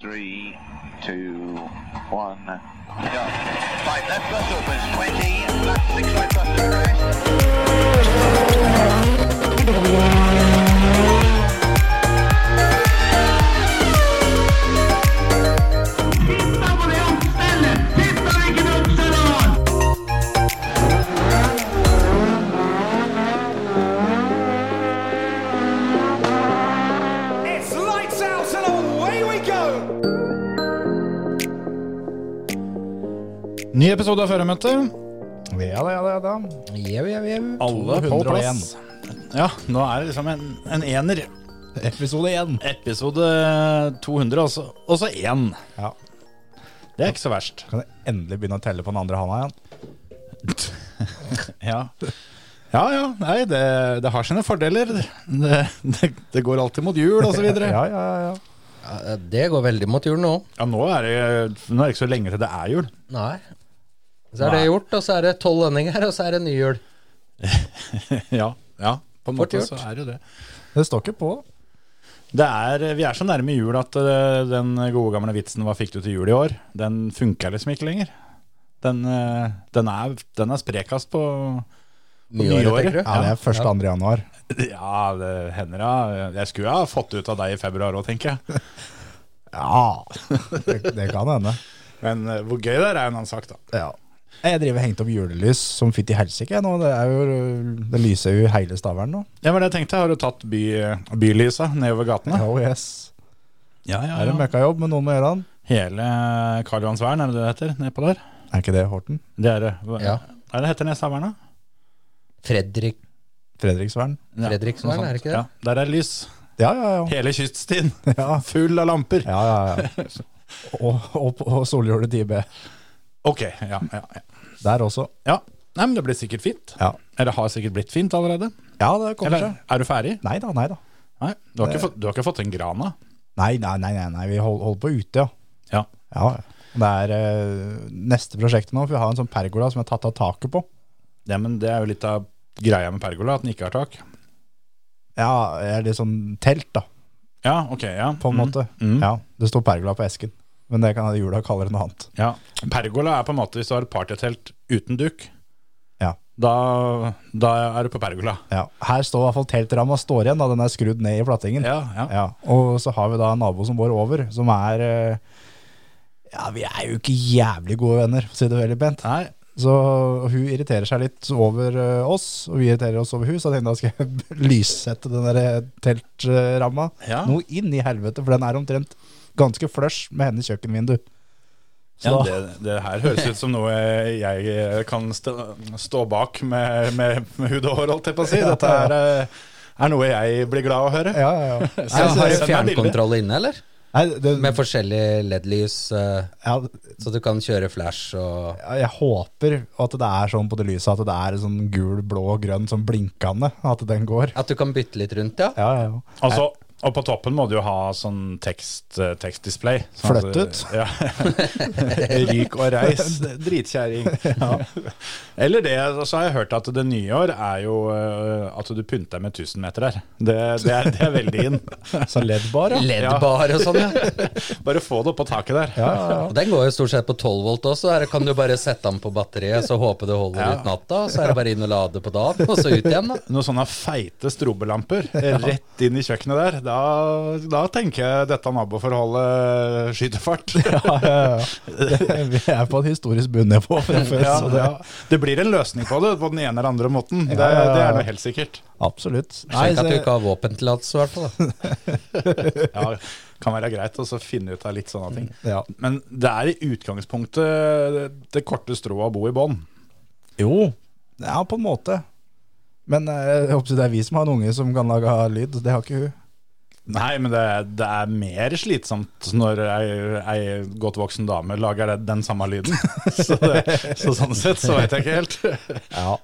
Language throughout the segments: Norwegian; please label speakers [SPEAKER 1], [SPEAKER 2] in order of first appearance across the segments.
[SPEAKER 1] three, two, one, go. Right, left bus opens 20, left six right bus to arrest.
[SPEAKER 2] It's lights out and away we go!
[SPEAKER 3] Ny episode av Førermøtet.
[SPEAKER 4] Ja da, ja da, ja da. Jau, jau, jau.
[SPEAKER 3] Alle på
[SPEAKER 4] 201.
[SPEAKER 3] plass. Ja, nå er det liksom en, en ener.
[SPEAKER 4] Episode én.
[SPEAKER 3] Episode 200, altså. Og så én.
[SPEAKER 4] Ja.
[SPEAKER 3] Det er ikke så verst.
[SPEAKER 4] Kan jeg endelig begynne å telle på den andre handa igjen?
[SPEAKER 3] Ja, ja. ja nei, det, det har sine fordeler. Det, det, det går alltid mot jul, osv.
[SPEAKER 4] Ja,
[SPEAKER 3] Ja.
[SPEAKER 4] ja, ja.
[SPEAKER 5] Ja, Det går veldig mot jul nå.
[SPEAKER 3] ja, nå er det nå er det ikke så lenge til det er jul.
[SPEAKER 5] Nei. Så er det gjort, og så er det tolv lønninger, og så er det ny jul.
[SPEAKER 3] Ja, ja på
[SPEAKER 5] Fort
[SPEAKER 3] en måte
[SPEAKER 5] gjort.
[SPEAKER 3] så er det jo det.
[SPEAKER 4] ja. Det står ikke på.
[SPEAKER 3] Det er, vi er så nærme jul at eh, den gode gamle vitsen 'Hva fikk du til jul i år?' den funker liksom ikke lenger. Den, eh, den, er, den er sprekast på Nyåret.
[SPEAKER 5] tenker du?
[SPEAKER 4] Ja, det er 1. 2. januar.
[SPEAKER 3] Ja, det hender ja. Jeg skulle ha fått det ut av deg i februar òg, tenker jeg.
[SPEAKER 4] Ja, det, det kan hende.
[SPEAKER 3] Men eh, hvor gøy det er, er en annen sak, da.
[SPEAKER 4] Ja. Jeg driver og hengte opp julelys som fytti helsike nå. Det, er jo, det lyser jo i hele Stavern nå.
[SPEAKER 3] Ja, men jeg tenkte, Har du tatt by, bylysa nedover gatene?
[SPEAKER 4] Oh yes.
[SPEAKER 3] Ja, ja,
[SPEAKER 4] Er det møkkajobb, men noen må gjøre den.
[SPEAKER 3] Hele Karl Johans vern, er det det det heter? Nedpå der?
[SPEAKER 4] Er ikke det Horten?
[SPEAKER 3] Det er det. Hva
[SPEAKER 5] Ja.
[SPEAKER 3] er det det heter Nestavern, da?
[SPEAKER 5] Fredrik
[SPEAKER 4] Fredriksvern?
[SPEAKER 3] Ja,
[SPEAKER 5] Fredriksvern,
[SPEAKER 3] noe sånt.
[SPEAKER 5] er det ikke det?
[SPEAKER 3] Ja, der er lys.
[SPEAKER 4] Ja, ja, ja.
[SPEAKER 3] Hele kyststien.
[SPEAKER 4] Ja.
[SPEAKER 3] Full av lamper.
[SPEAKER 4] ja, ja, ja. Og, og, og solhjulet 10B.
[SPEAKER 3] Ok, ja, ja, ja.
[SPEAKER 4] Der også.
[SPEAKER 3] ja. Nei, men det blir sikkert fint.
[SPEAKER 4] Ja,
[SPEAKER 3] Eller har sikkert blitt fint allerede.
[SPEAKER 4] ja det kommer
[SPEAKER 3] Eller
[SPEAKER 4] seg.
[SPEAKER 3] er du ferdig?
[SPEAKER 4] Nei da, nei da.
[SPEAKER 3] Nei, Eh. du har ikke fått, du har ikke fått en grana.
[SPEAKER 4] Nei, nei, nei, nei, nei. vi hold- holder på ute, ja.
[SPEAKER 3] Ja.
[SPEAKER 4] ja. Det er eh, neste prosjektet nå, for vi har en sånn pergola som jeg har tatt av taket på.
[SPEAKER 3] Ja, men det er jo litt av greia med pergola, at den ikke har tak.
[SPEAKER 4] Ja, eller sånn telt da,
[SPEAKER 3] Ja, ok, ja.
[SPEAKER 4] på en
[SPEAKER 3] Mm,
[SPEAKER 4] måte.
[SPEAKER 3] Mm. Ja.
[SPEAKER 4] Ja, det står pergola på esken, men det kan jula kaller det noe annet.
[SPEAKER 3] Pergola er på en måte hvis du har et partytelt uten duk.
[SPEAKER 4] Ja.
[SPEAKER 3] Da, da er du på pergola.
[SPEAKER 4] Ja. Her står i hvert fall teltramma står igjen da, den er skrudd ned i plattingen.
[SPEAKER 3] Ja, ja.
[SPEAKER 4] Ja, og så har vi da en nabo som bor over, som er, eh, ja, vi er jo ikke jævlig gode venner, for å si det veldig pent.
[SPEAKER 3] Nei,
[SPEAKER 4] Så hun irriterer seg litt over eh, oss, og vi irriterer oss over hun, så jeg tenkte da skal jeg lyssette den der eh, teltramma
[SPEAKER 3] Ja.
[SPEAKER 4] noe inn i helvete, for den er omtrent ganske flush med hennes kjøkkenvindu. Så
[SPEAKER 3] ja,
[SPEAKER 4] da-
[SPEAKER 3] det, det her høres ut som noe jeg kan stå, stå bak med, med, med hud og hår, holdt jeg på å si. Dette er, eh, er noe jeg blir glad av å høre.
[SPEAKER 4] Ja, ja, ja. Nei,
[SPEAKER 5] Ja, har du
[SPEAKER 3] så- send meg bildet.
[SPEAKER 5] fjernkontroll inne, eller?
[SPEAKER 4] Nei, det,
[SPEAKER 5] Med forskjellig LED-lys, eh,
[SPEAKER 4] ja,
[SPEAKER 5] så du kan kjøre flash og
[SPEAKER 4] jeg håper at det er sånn på det lyset, at det er sånn gul, blå og grønn som blinkende, at den går.
[SPEAKER 5] At du kan bytte litt rundt, ja.
[SPEAKER 4] Ja, ja, ja.
[SPEAKER 3] Og så- Altså, og på toppen må du jo ha sånn tekst, eh, tekstdisplay. Sånn at-
[SPEAKER 4] Fløtt ut.
[SPEAKER 3] Ja. Ryk og reis. Dritkjerring. Eller det, og så har jeg hørt at det nye år er jo eh, at du pynter deg med 1000 meter her. Det, det, er, det er veldig inn.
[SPEAKER 4] Så leddbar, ja.
[SPEAKER 5] LED-bar og sånn, ja.
[SPEAKER 3] Bare få det opp på taket der.
[SPEAKER 4] Ja, ja, ja.
[SPEAKER 5] Og den går jo stort sett på 12 volt også. Der kan du bare sette den på batteriet, så håpe det holder ut natta. Og så er det bare inn og lade på dagen, og så ut igjen, da.
[SPEAKER 3] Noen sånne feite strobelamper eh, rett inn i kjøkkenet der. Da, da tenker jeg dette naboforholdet skyter fart.
[SPEAKER 4] Ja, ja, ja. Det- Vi er på et historisk bunnivå fra før,
[SPEAKER 3] Ja,
[SPEAKER 4] så det, sånn.
[SPEAKER 3] ja. Det blir en løsning på det, på den ene eller andre måten. Det,
[SPEAKER 4] ja, ja.
[SPEAKER 3] det er noe helt sikkert.
[SPEAKER 4] absolutt.
[SPEAKER 5] Sjekk at du
[SPEAKER 4] så-
[SPEAKER 5] ikke har våpentillatelse, i hvert fall. da.
[SPEAKER 3] Ja, kan være greit å så finne ut av litt sånne ting.
[SPEAKER 4] Ja.
[SPEAKER 3] Men det er i utgangspunktet det, det korte strået å bo i bånn.
[SPEAKER 4] Jo, ja, på en måte. Men eh, jeg håper det er vi som har en unge som kan lage lyd. Det har ikke hun.
[SPEAKER 3] Nei, men det, det er mer slitsomt når ei, ei godt voksen dame lager det, den samme lyden. Så, det, så sånn sett så veit jeg ikke helt.
[SPEAKER 4] Ja.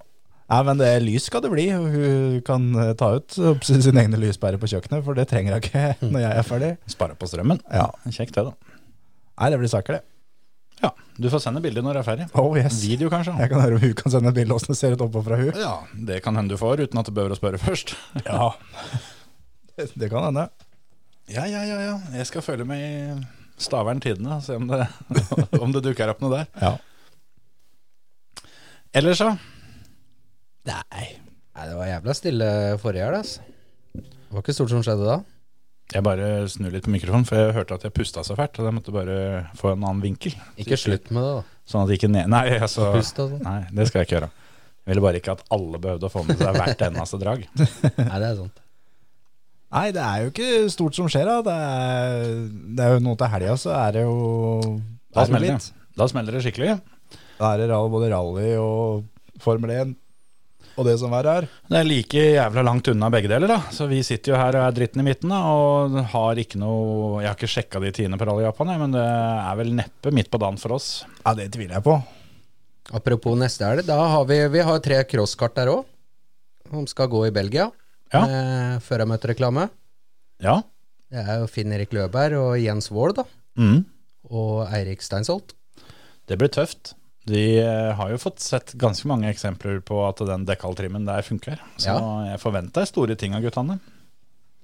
[SPEAKER 4] Nei, men det, lys skal det bli. og Hun kan eh, ta ut jeg håper sine egne lyspærer på kjøkkenet, for det trenger hun ikke når jeg er ferdig.
[SPEAKER 3] Spare på strømmen.
[SPEAKER 4] Ja.
[SPEAKER 3] Kjekt det, da.
[SPEAKER 4] Nei, det blir saker, det.
[SPEAKER 3] Ja, Du får sende bilde når du er ferdig.
[SPEAKER 4] Oh yes.
[SPEAKER 3] Video, kanskje.
[SPEAKER 4] Jeg kan høre om hun kan sende et bilde åssen det ser ut oppå fra hun.
[SPEAKER 3] Ja, Det kan hende du får, uten at du behøver å spørre først.
[SPEAKER 4] Ja. Det kan hende.
[SPEAKER 3] Ja, ja, ja, ja. Jeg skal følge med i Stavern Tidende, og se om det, om det dukker opp noe der.
[SPEAKER 4] Ja.
[SPEAKER 3] Ellers, så.
[SPEAKER 4] Nei.
[SPEAKER 5] Nei, det var jævla stille forrige helg, altså. Det var ikke stort som skjedde da.
[SPEAKER 3] Jeg bare snur litt på mikrofonen, for jeg hørte at jeg pusta så fælt. Og jeg måtte bare få en annen vinkel.
[SPEAKER 5] Ikke slutt med det, da.
[SPEAKER 3] Sånn at det ikke ned... Nei, altså,
[SPEAKER 5] Pust og sånn.
[SPEAKER 3] nei, det skal jeg ikke gjøre. Jeg ville bare ikke at alle behøvde å få med seg hvert eneste drag.
[SPEAKER 5] Nei, det er sant.
[SPEAKER 4] Nei, det er jo ikke stort som skjer, da. Det er, det er jo nå til helga, så er det jo
[SPEAKER 3] Da
[SPEAKER 4] er jo
[SPEAKER 3] smeller
[SPEAKER 4] litt.
[SPEAKER 3] det. Da smeller det skikkelig.
[SPEAKER 4] Da er det ra- både rally og Formel 1 og det som verre er.
[SPEAKER 3] Det er like jævla langt unna begge deler, da. Så vi sitter jo her og er dritten i midten, da. Og har ikke noe Jeg har ikke sjekka de tidene på Rally Japan, jeg, men det er vel neppe midt på dagen for oss.
[SPEAKER 4] Ja, det tviler jeg på.
[SPEAKER 5] Apropos neste helg, da har vi, vi har tre crosskart der òg. Som skal gå i Belgia.
[SPEAKER 3] Ja.
[SPEAKER 5] Eh, før jeg møtte reklame.
[SPEAKER 3] Ja.
[SPEAKER 5] Det er jo Finn-Erik Løberg og Jens Wold, da.
[SPEAKER 3] Mm.
[SPEAKER 5] Og Eirik Steinsholt.
[SPEAKER 3] Det blir tøft. De eh, har jo fått sett ganske mange eksempler på at den dekkaltrimmen der funker. Så
[SPEAKER 5] Ja.
[SPEAKER 3] jeg forventer store ting av guttene.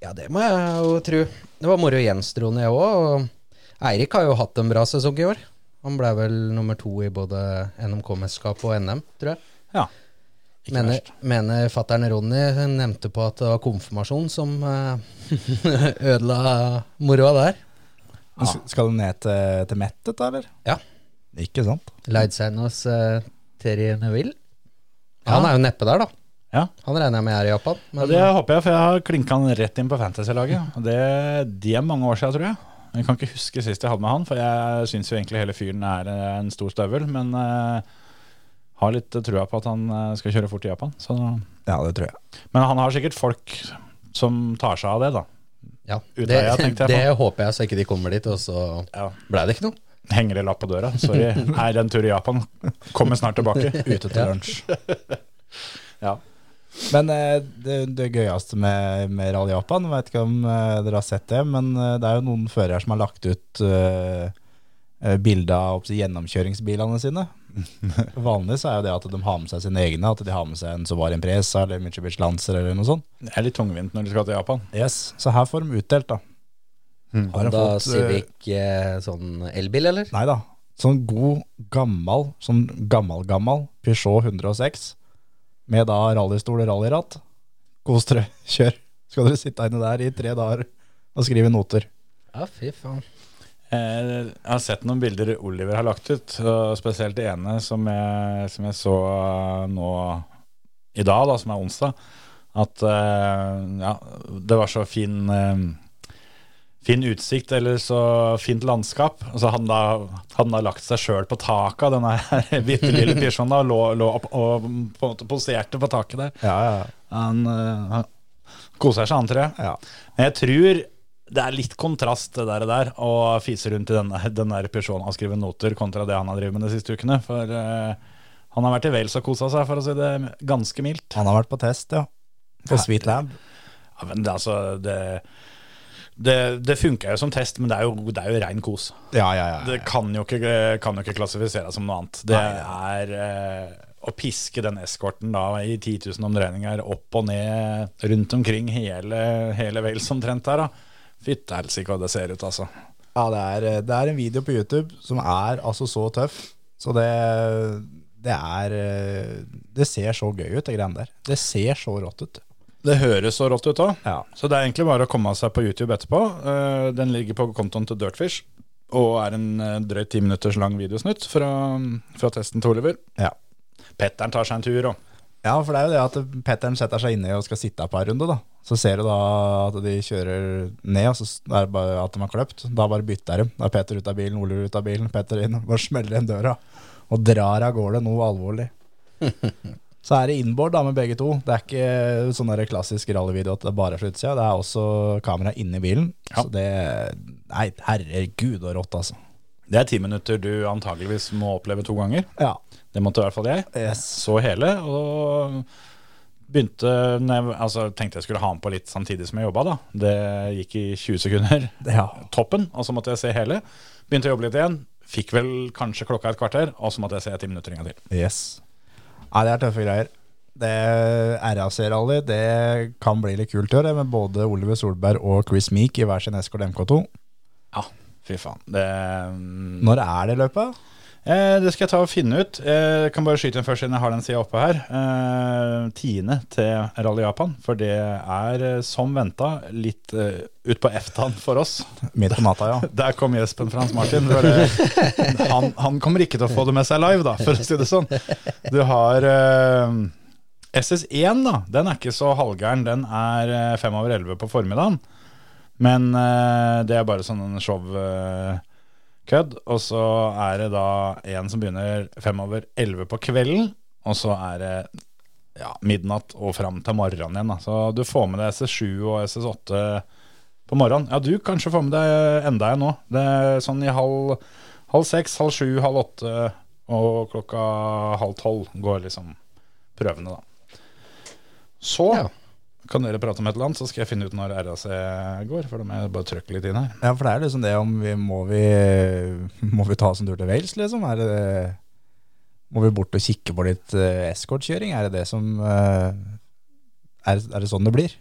[SPEAKER 5] Ja, det må jeg jo tro. Det var moro Jens dro ned òg. Og Eirik har jo hatt en bra sesong i år. Han ble vel nummer to i både NMK-mesterskapet og NM, tror jeg.
[SPEAKER 3] Ja. Ikke
[SPEAKER 5] Mener,
[SPEAKER 3] verst.
[SPEAKER 5] mener fattern Ronny nevnte på at det var konfirmasjon som eh, ødela moroa der.
[SPEAKER 4] Men s- eh, Skal du ned til, til Mett, dette, eller?
[SPEAKER 5] Ja.
[SPEAKER 4] Ikke sant?
[SPEAKER 5] Leidseinas uh, Terje Neville. Ja, Han er jo neppe der, da.
[SPEAKER 3] Ja.
[SPEAKER 5] Han regner jeg med er i Japan.
[SPEAKER 3] Ja,
[SPEAKER 5] Men
[SPEAKER 3] det håper jeg, for jeg har klinka han rett inn på Fantasy-laget. Og Det, det er mange år siden, tror jeg. Jeg kan ikke huske sist jeg hadde med han, for jeg syns jo egentlig hele fyren er eh, en stor støvel. Men eh, har litt trua på at han eh, skal kjøre fort i Japan. Så.
[SPEAKER 4] Ja, det tror jeg.
[SPEAKER 3] Men han har sikkert folk som tar seg av det, da.
[SPEAKER 5] ja, det,
[SPEAKER 3] Utøya, tenkte jeg på.
[SPEAKER 5] det håper jeg, så ikke de kommer dit, og så
[SPEAKER 3] Ja.
[SPEAKER 5] blei det ikke noe.
[SPEAKER 3] Henger det lapp på døra? Sorry, er en tur i Japan. Kommer snart tilbake.
[SPEAKER 4] Ute til lunsj.
[SPEAKER 3] Ja.
[SPEAKER 4] Men eh, det, det gøyeste med, med Rally Japan, vet ikke om eh, dere har sett det, men eh, det er jo noen førere som har lagt ut eh, eh, bilde av oppsi, gjennomkjøringsbilene sine. Vanlig så er jo det at de har med seg sine egne, at de har med seg en Subaru Impresa eller Mitsubishi Lancer eller noe sånt.
[SPEAKER 3] Det er litt tungvint når du skal til Japan.
[SPEAKER 4] Yes, Så her får de utdelt, da. Har de
[SPEAKER 5] Da
[SPEAKER 4] fått, eh,
[SPEAKER 5] Civic eh, sånn elbil, eller?
[SPEAKER 4] Nei da. Sånn god, gammal, sånn gammal-gammal Peugeot 106 med da rallystol og rallyratt. Kos dere, kjør. Skal dere sitte inne der i tre dager og skrive noter.
[SPEAKER 5] Ja, fy faen.
[SPEAKER 3] Eh, Jeg har sett noen bilder Oliver har lagt ut, og spesielt det ene som jeg, som jeg så eh, nå i dag, da, som er onsdag. At eh, ja, det var så fin eh, Fin utsikt eller så fint landskap. Og så hadde han da, hadde han da lagt seg sjøl på taket av denne her bitte lille Peugeoten da, og lå, lå opp, og på en måte poserte på taket der.
[SPEAKER 4] Ja, ja,
[SPEAKER 3] Han, eh, han koser seg, han, tror jeg.
[SPEAKER 4] ja.
[SPEAKER 3] Men jeg tror det er litt kontrast det der, og der å fise rundt i denne, den der Peugeoten han skriver noter, kontra det han har drevet med de siste ukene. For eh, han har vært i Wales og kosa seg, for å si det ganske mildt.
[SPEAKER 4] Han har vært på test, ja. På Sweet Lab.
[SPEAKER 3] Ja, men det, er altså, det, det, det funka jo som test, men det er jo, det er jo rein kos.
[SPEAKER 4] Ja, ja, ja.
[SPEAKER 3] Det kan jo ikke, eh, kan jo ikke klassifiseres som noe annet. Det er eh, å piske den eskorten da i 10 000 omdreininger opp og ned rundt omkring hele, hele Wales omtrent der, da. Fytte helsike hva det ser ut, altså.
[SPEAKER 4] ja det, er, eh, det er en video på YouTube som er altså så tøff. Så det, det er eh, Det ser så gøy ut, det greiene der. Det ser så rått ut.
[SPEAKER 3] Det høres så rått ut òg.
[SPEAKER 4] Ja.
[SPEAKER 3] Så det er egentlig bare å komme seg på YouTube etterpå. Eh, Den ligger på kontoen til Dirtfish og er en eh, drøyt ti minutters lang videosnutt fra, fra testen til Oliver.
[SPEAKER 4] ja.
[SPEAKER 3] Petteren tar seg en tur og
[SPEAKER 4] Ja, for det er jo det at Petteren setter seg inne og skal sitte et par runder, da. Så ser du da at de kjører ned, og så er det bare at de har kløpt. Da bare bytter de. Da er Petter ut av bilen, Oliver ut av bilen, Petter inn. Bare smeller igjen døra og drar av gårde noe alvorlig. Så er det inboard da med begge to. Det er ikke sånn der klassisk rallyvideo at det er bare er sluttsida. Det er også kamera inni bilen. Så det Nei, herregud og rått, altså.
[SPEAKER 3] Det er ti minutter du antageligvis må oppleve to ganger.
[SPEAKER 4] Ja.
[SPEAKER 3] Det måtte i hvert fall jeg.
[SPEAKER 4] Yes.
[SPEAKER 3] Så hele, og begynte når jeg, altså, Tenkte jeg skulle ha den på litt samtidig som jeg jobba, da. Det gikk i 20 sekunder.
[SPEAKER 4] Ja.
[SPEAKER 3] toppen, og så måtte jeg se hele. Begynte å jobbe litt igjen. Fikk vel kanskje klokka et kvarter, og så måtte jeg se ti minutter en gang til.
[SPEAKER 4] Yes. Nei, det er tøffe greier. Det RAC-rally det kan bli litt kult i år, det, med både Oliver Solberg og Chris Meek i hver sin Escort MK2.
[SPEAKER 3] Ja. Fy faen. Det, mm,
[SPEAKER 4] Når er det løpet?
[SPEAKER 3] Eh, det skal jeg ta og finne ut. Eh, jeg kan bare skyte den først siden jeg har den sida oppe her. Eh, tiende til Rally Japan, for det er eh, som venta litt eh, utpå eftaen for oss.
[SPEAKER 4] Midt på natta, ja.
[SPEAKER 3] Der kom Jespen Frans Martin. For det, han, han kommer ikke til å få det med seg live, da, for å si det sånn. Du har eh, SS1, da. Den er ikke så halvgæren. Den er eh, fem over elleve på formiddagen. Men eh, det er bare sånn en show-kødd. og så er det da en som begynner fem over elleve på kvelden, og så er det ja, midnatt og fram til morgenen igjen. Da. Så du får med deg SS7 og SS8 på morgenen. Ja, du kanskje får med deg enda en nå. Det er sånn i halv, halv seks, halv sju, halv åtte og klokka halv tolv går liksom prøvene, da. Så
[SPEAKER 5] Ja.
[SPEAKER 3] kan dere prate om et eller annet, så skal jeg finne ut når RAC går. For da må jeg bare trykke litt inn her.
[SPEAKER 4] Ja, for det er liksom det om vi må vi, må vi ta oss en tur til Wales, liksom? Er det, må vi bort og kikke på litt uh, eskortkjøring? Er det det som eh, er, er det sånn det blir?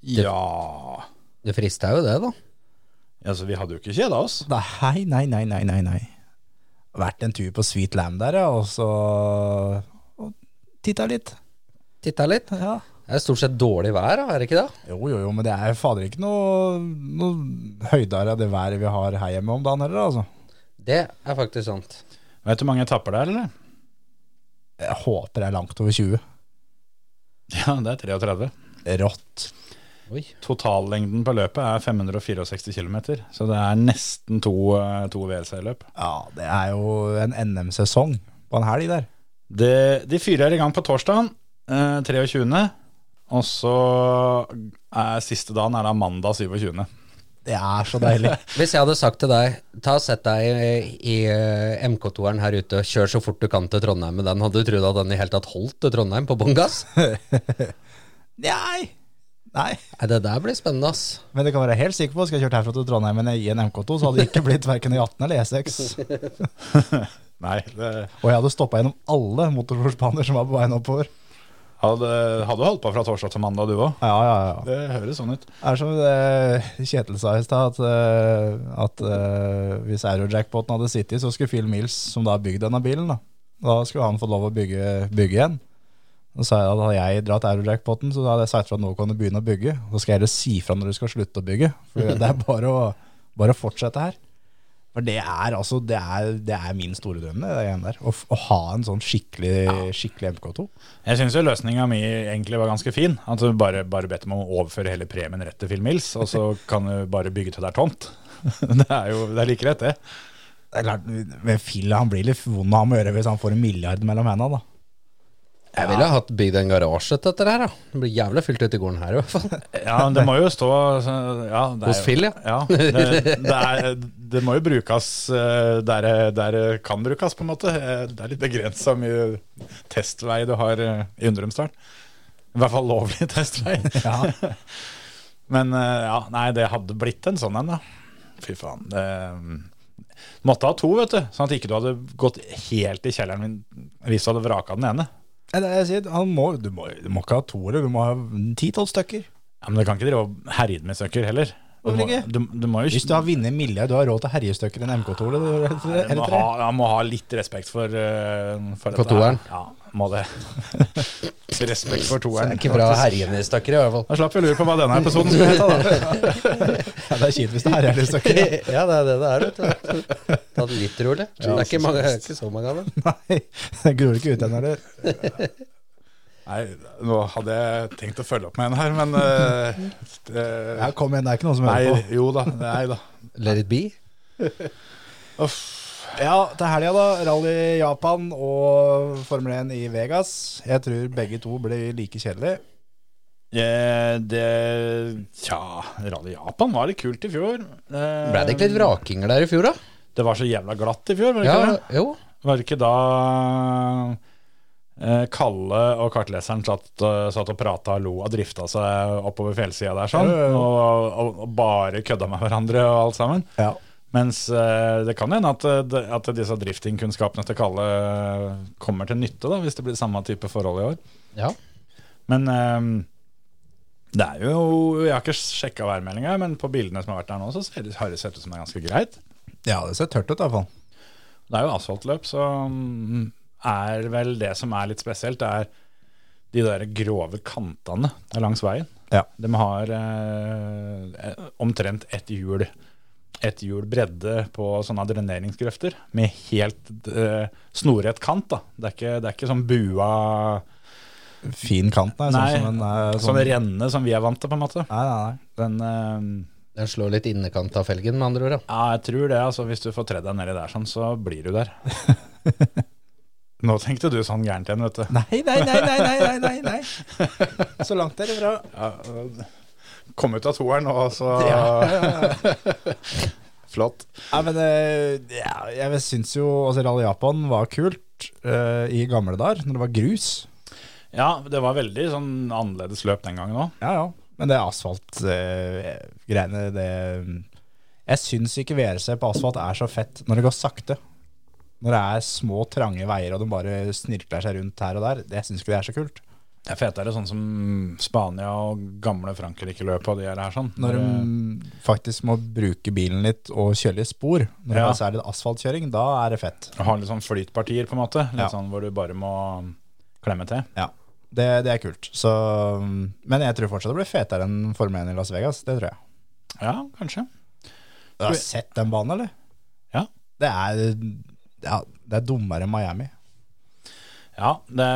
[SPEAKER 3] Ja
[SPEAKER 5] Det frister jo det, da.
[SPEAKER 3] Altså, vi hadde jo ikke kjeda oss.
[SPEAKER 4] Nei, nei, nei, nei, nei, nei. Vært en tur på Sweet Lamb der, ja, og så
[SPEAKER 3] altså.
[SPEAKER 4] og titta litt.
[SPEAKER 5] Titta litt.
[SPEAKER 4] Ja.
[SPEAKER 5] Det er stort sett dårlig vær, da, er det ikke det?
[SPEAKER 4] Jo, jo, jo, men det er fader ikke noe, noe høydere av det været vi har her hjemme om dagen heller, altså.
[SPEAKER 5] Det er faktisk sant.
[SPEAKER 3] Vet du hvor mange etapper det er, eller?
[SPEAKER 4] Jeg håper det er langt over 20.
[SPEAKER 3] Ja, det er 33.
[SPEAKER 4] Rått.
[SPEAKER 5] Oi.
[SPEAKER 3] Totallengden på løpet er 564 km, så det er nesten to, eh, to WC-løp.
[SPEAKER 4] Ja, det er jo en NM-sesong på en helg der.
[SPEAKER 3] Det, de fyrer i gang på torsdagen, eh, 23. Og så er siste dagen er da mandag 27.
[SPEAKER 4] Det er så deilig.
[SPEAKER 5] Hvis jeg hadde sagt til deg Ta og Sett deg i, i eh, MK2-eren her ute, kjør så fort du kan til Trondheim med den. Hadde du trodd at den i hele tatt holdt til Trondheim på bånn gass?
[SPEAKER 4] Nei. Nei.
[SPEAKER 5] Nei, Det der blir spennende, ass.
[SPEAKER 4] Men det kan være helt sikker på, skal jeg kjørt herfra til Trondheim med en i en MK2, så hadde det ikke blitt verken E18 eller E6.
[SPEAKER 3] Nei, det
[SPEAKER 4] Og jeg hadde stoppa gjennom alle motorsportsbaner som var på veien oppover.
[SPEAKER 3] hadde, hadde holdt på fra torsdag til mandag, du òg.
[SPEAKER 4] Ja, ja, ja.
[SPEAKER 3] Det høres sånn ut.
[SPEAKER 4] Det er som det Kjetil sa i stad, at, eh, at eh, hvis Eurojackpoten hadde sittet, så skulle Phil Mills, som da har bygd denne bilen, da, da skulle han fått lov å bygge, bygge igjen. Og så sa jeg at hadde jeg dratt Eurojackpoten, så hadde jeg sagt fra at nå kan du begynne å bygge. Så skal jeg heller si fra når du skal slutte å bygge. For det er bare å, bare å fortsette her. For det er altså Det er, det er min store drøm, det greiene der. Å, f- å ha en sånn skikkelig, skikkelig MK2.
[SPEAKER 3] Jeg syns jo løsninga mi egentlig var ganske fin. At du bare, bare bedt om å overføre hele premien rett til Phil Mills, og så kan du bare bygge til det er tomt. Det er jo det er like rett, det.
[SPEAKER 4] Det er klart, men Phil han blir litt vond av ham å gjøre hvis han får en milliard mellom hendene, da.
[SPEAKER 5] Jeg ville hatt bygd en garasje til dette her, da. Det blir jævlig fylt ut i gården her, i hvert fall.
[SPEAKER 3] Ja, men det må jo stå altså, ja, det er
[SPEAKER 5] Hos
[SPEAKER 3] jo-
[SPEAKER 5] Phil, ja.
[SPEAKER 3] det, det, er, det må jo brukes eh, der, det- der det kan brukes, på en måte. Eh, Det er litt begrensa mye testvei du har eh, i Undrumsdalen. I hvert fall lovlig testvei. Men eh, ja, nei, det hadde blitt en sånn en, da. Fy faen. Det, ehm, måtte ha to, vet du. Sånn at ikke du hadde gått helt i kjelleren min hvis du hadde vraka den ene.
[SPEAKER 4] Nei, det er jeg sier, han må, du, må, du må ikke ha to, eller du må ha ti-tolv stykker.
[SPEAKER 3] Ja, Men du kan ikke drive og herje med søkker heller. Du må,
[SPEAKER 4] Hvorfor ikke?
[SPEAKER 3] du, du må jo
[SPEAKER 4] Hvis du har vunnet en milliard, du har råd til herjestykker i en MK2 eller, eller,
[SPEAKER 3] Du må
[SPEAKER 4] eller
[SPEAKER 3] ha,
[SPEAKER 4] tre.
[SPEAKER 3] han må ha litt respekt for, eh, for
[SPEAKER 5] For
[SPEAKER 3] dette her.
[SPEAKER 5] toeren.
[SPEAKER 3] Ja, må det. respekt for toeren.
[SPEAKER 5] Ikke bra herjende stakkere, i hvert fall.
[SPEAKER 3] Da slapp vi å lure på hva denne episoden skulle hete. da.
[SPEAKER 4] Ja, det er kjipt hvis det er herjestykker.
[SPEAKER 5] Ja, det er det det er, vet du. Ta det litt rolig. Det er ikke, mange, ikke så mange av dem.
[SPEAKER 4] Nei, det gror ikke ut igjen heller.
[SPEAKER 3] Nei, nå hadde jeg tenkt å følge opp med en her, men eh, det-
[SPEAKER 4] Ja, kom igjen, det er ikke noen som
[SPEAKER 3] Nei,
[SPEAKER 4] hører på.
[SPEAKER 3] jo da. Nei da.
[SPEAKER 5] Let it be.
[SPEAKER 4] Ja, til helga, da. Rally Japan og Formel 1 i Vegas. Jeg tror begge to blir like kjedelige.
[SPEAKER 3] Eh, det Tja, Rally Japan var litt kult i fjor. Eh,
[SPEAKER 5] Ble det ikke litt vrakinger der i fjor, da?
[SPEAKER 3] Det var så jævla glatt i fjor, var det
[SPEAKER 5] Ja,
[SPEAKER 3] ikke det?
[SPEAKER 5] jo.
[SPEAKER 3] Var det ikke da eh, Kalle og kartleseren satt, eh, satt og prata og lo og drifta seg oppover fjellsida der sånn,
[SPEAKER 4] Ja, ja, ja.
[SPEAKER 3] og, og, og bare kødda med hverandre og alt sammen.
[SPEAKER 4] Ja.
[SPEAKER 3] Mens eh, det kan hende at, eh, det- at disse driftingkunnskapene til Kalle eh, kommer til nytte, da, hvis det blir samme type forhold i år.
[SPEAKER 5] Ja.
[SPEAKER 3] Men eh, Det er jo, Jeg har ikke sjekka værmeldinga, men på bildene som har vært der nå, så ser det, har det sett ut som det er ganske greit.
[SPEAKER 4] Ja, det ser tørt ut i hvert fall.
[SPEAKER 3] Det er jo asfaltløp, så mm, er vel det som er litt spesielt, det er de der grove kantene langs veien.
[SPEAKER 4] Ja.
[SPEAKER 3] De har eh, omtrent ett hjul ett hjul bredde på sånne dreneringsgrøfter med helt eh, snorrett kant. da. Det er ikke, det er ikke sånn bua
[SPEAKER 4] Fin kant, nei.
[SPEAKER 3] Nei,
[SPEAKER 4] sånn som en, eh,
[SPEAKER 3] sånn
[SPEAKER 4] sånn,
[SPEAKER 3] renne som vi er vant til, på en måte.
[SPEAKER 4] nei, nei, nei.
[SPEAKER 3] Den... eh,
[SPEAKER 5] Den slår litt innekant av felgen, med andre ord. da.
[SPEAKER 3] Ja, jeg tror det. altså Hvis du får tredd deg nedi der, sånn, så blir du der. Nå tenkte du sånn gærent igjen, vet du.
[SPEAKER 4] Nei, nei, nei, nei, nei, nei, nei, nei. Så langt er det bra.
[SPEAKER 3] Ja, kom ut av toeren, og så Flott.
[SPEAKER 4] Nei, men eh, ja, jeg syns jo altså, Rally Japan var kult eh, i gamle dager, når det var grus.
[SPEAKER 3] Ja, det var veldig sånn annerledes løp den gangen òg.
[SPEAKER 4] Ja, ja. Men det asfaltgreiene, det mm. Jeg syns ikke VRC på asfalt er så fett når det går sakte. Når det er små, trange veier og de bare snirkler seg rundt her og der. Det syns ikke det er så kult.
[SPEAKER 3] Det er fetere sånn som Spania og gamle Frankrike-løpet og de her. sånn.
[SPEAKER 4] Når de faktisk må bruke bilen litt og kjøre litt spor, når det
[SPEAKER 3] Ja.
[SPEAKER 4] altså er litt asfaltkjøring, da er det fett.
[SPEAKER 3] Du har litt sånn flytpartier, på en måte. Litt
[SPEAKER 4] Ja.
[SPEAKER 3] sånn hvor du bare må klemme til.
[SPEAKER 4] Ja, det, det er kult. Så, mm, men jeg tror fortsatt det blir fetere enn Formel 1 i Las Vegas. Det tror jeg.
[SPEAKER 3] Ja, kanskje.
[SPEAKER 4] Du har sett den banen, eller?
[SPEAKER 3] Ja.
[SPEAKER 4] Det er, ja, det er dummere enn Miami.
[SPEAKER 3] Ja, det,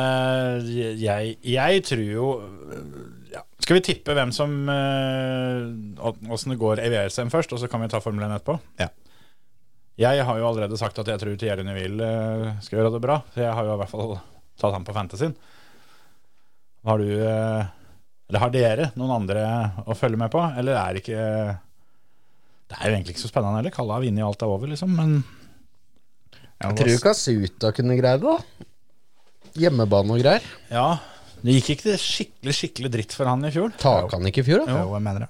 [SPEAKER 3] jeg, jeg tror jo ja. Skal vi tippe hvem som eh, Åssen det går i VRCM først, og så kan vi ta Formel 1 etterpå?
[SPEAKER 4] Ja.
[SPEAKER 3] Jeg har jo allerede sagt at jeg tror Thierry Neville eh, skal gjøre det bra. Så jeg har jo i hvert fall tatt han på fantasyen. Har du eh, Eller har dere noen andre å følge med på? Eller er det ikke Det er jo egentlig ikke så spennende heller. Kalle har vunnet, alt er over, liksom. Men
[SPEAKER 5] Jeg tror ikke Asuta kunne greie det, da. Hjemmebane og greier.
[SPEAKER 3] ja, det gikk ikke skikkelig, skikkelig dritt for han i fjor.
[SPEAKER 5] Tak han ikke i fjor, da?
[SPEAKER 4] Jo, jeg mener det.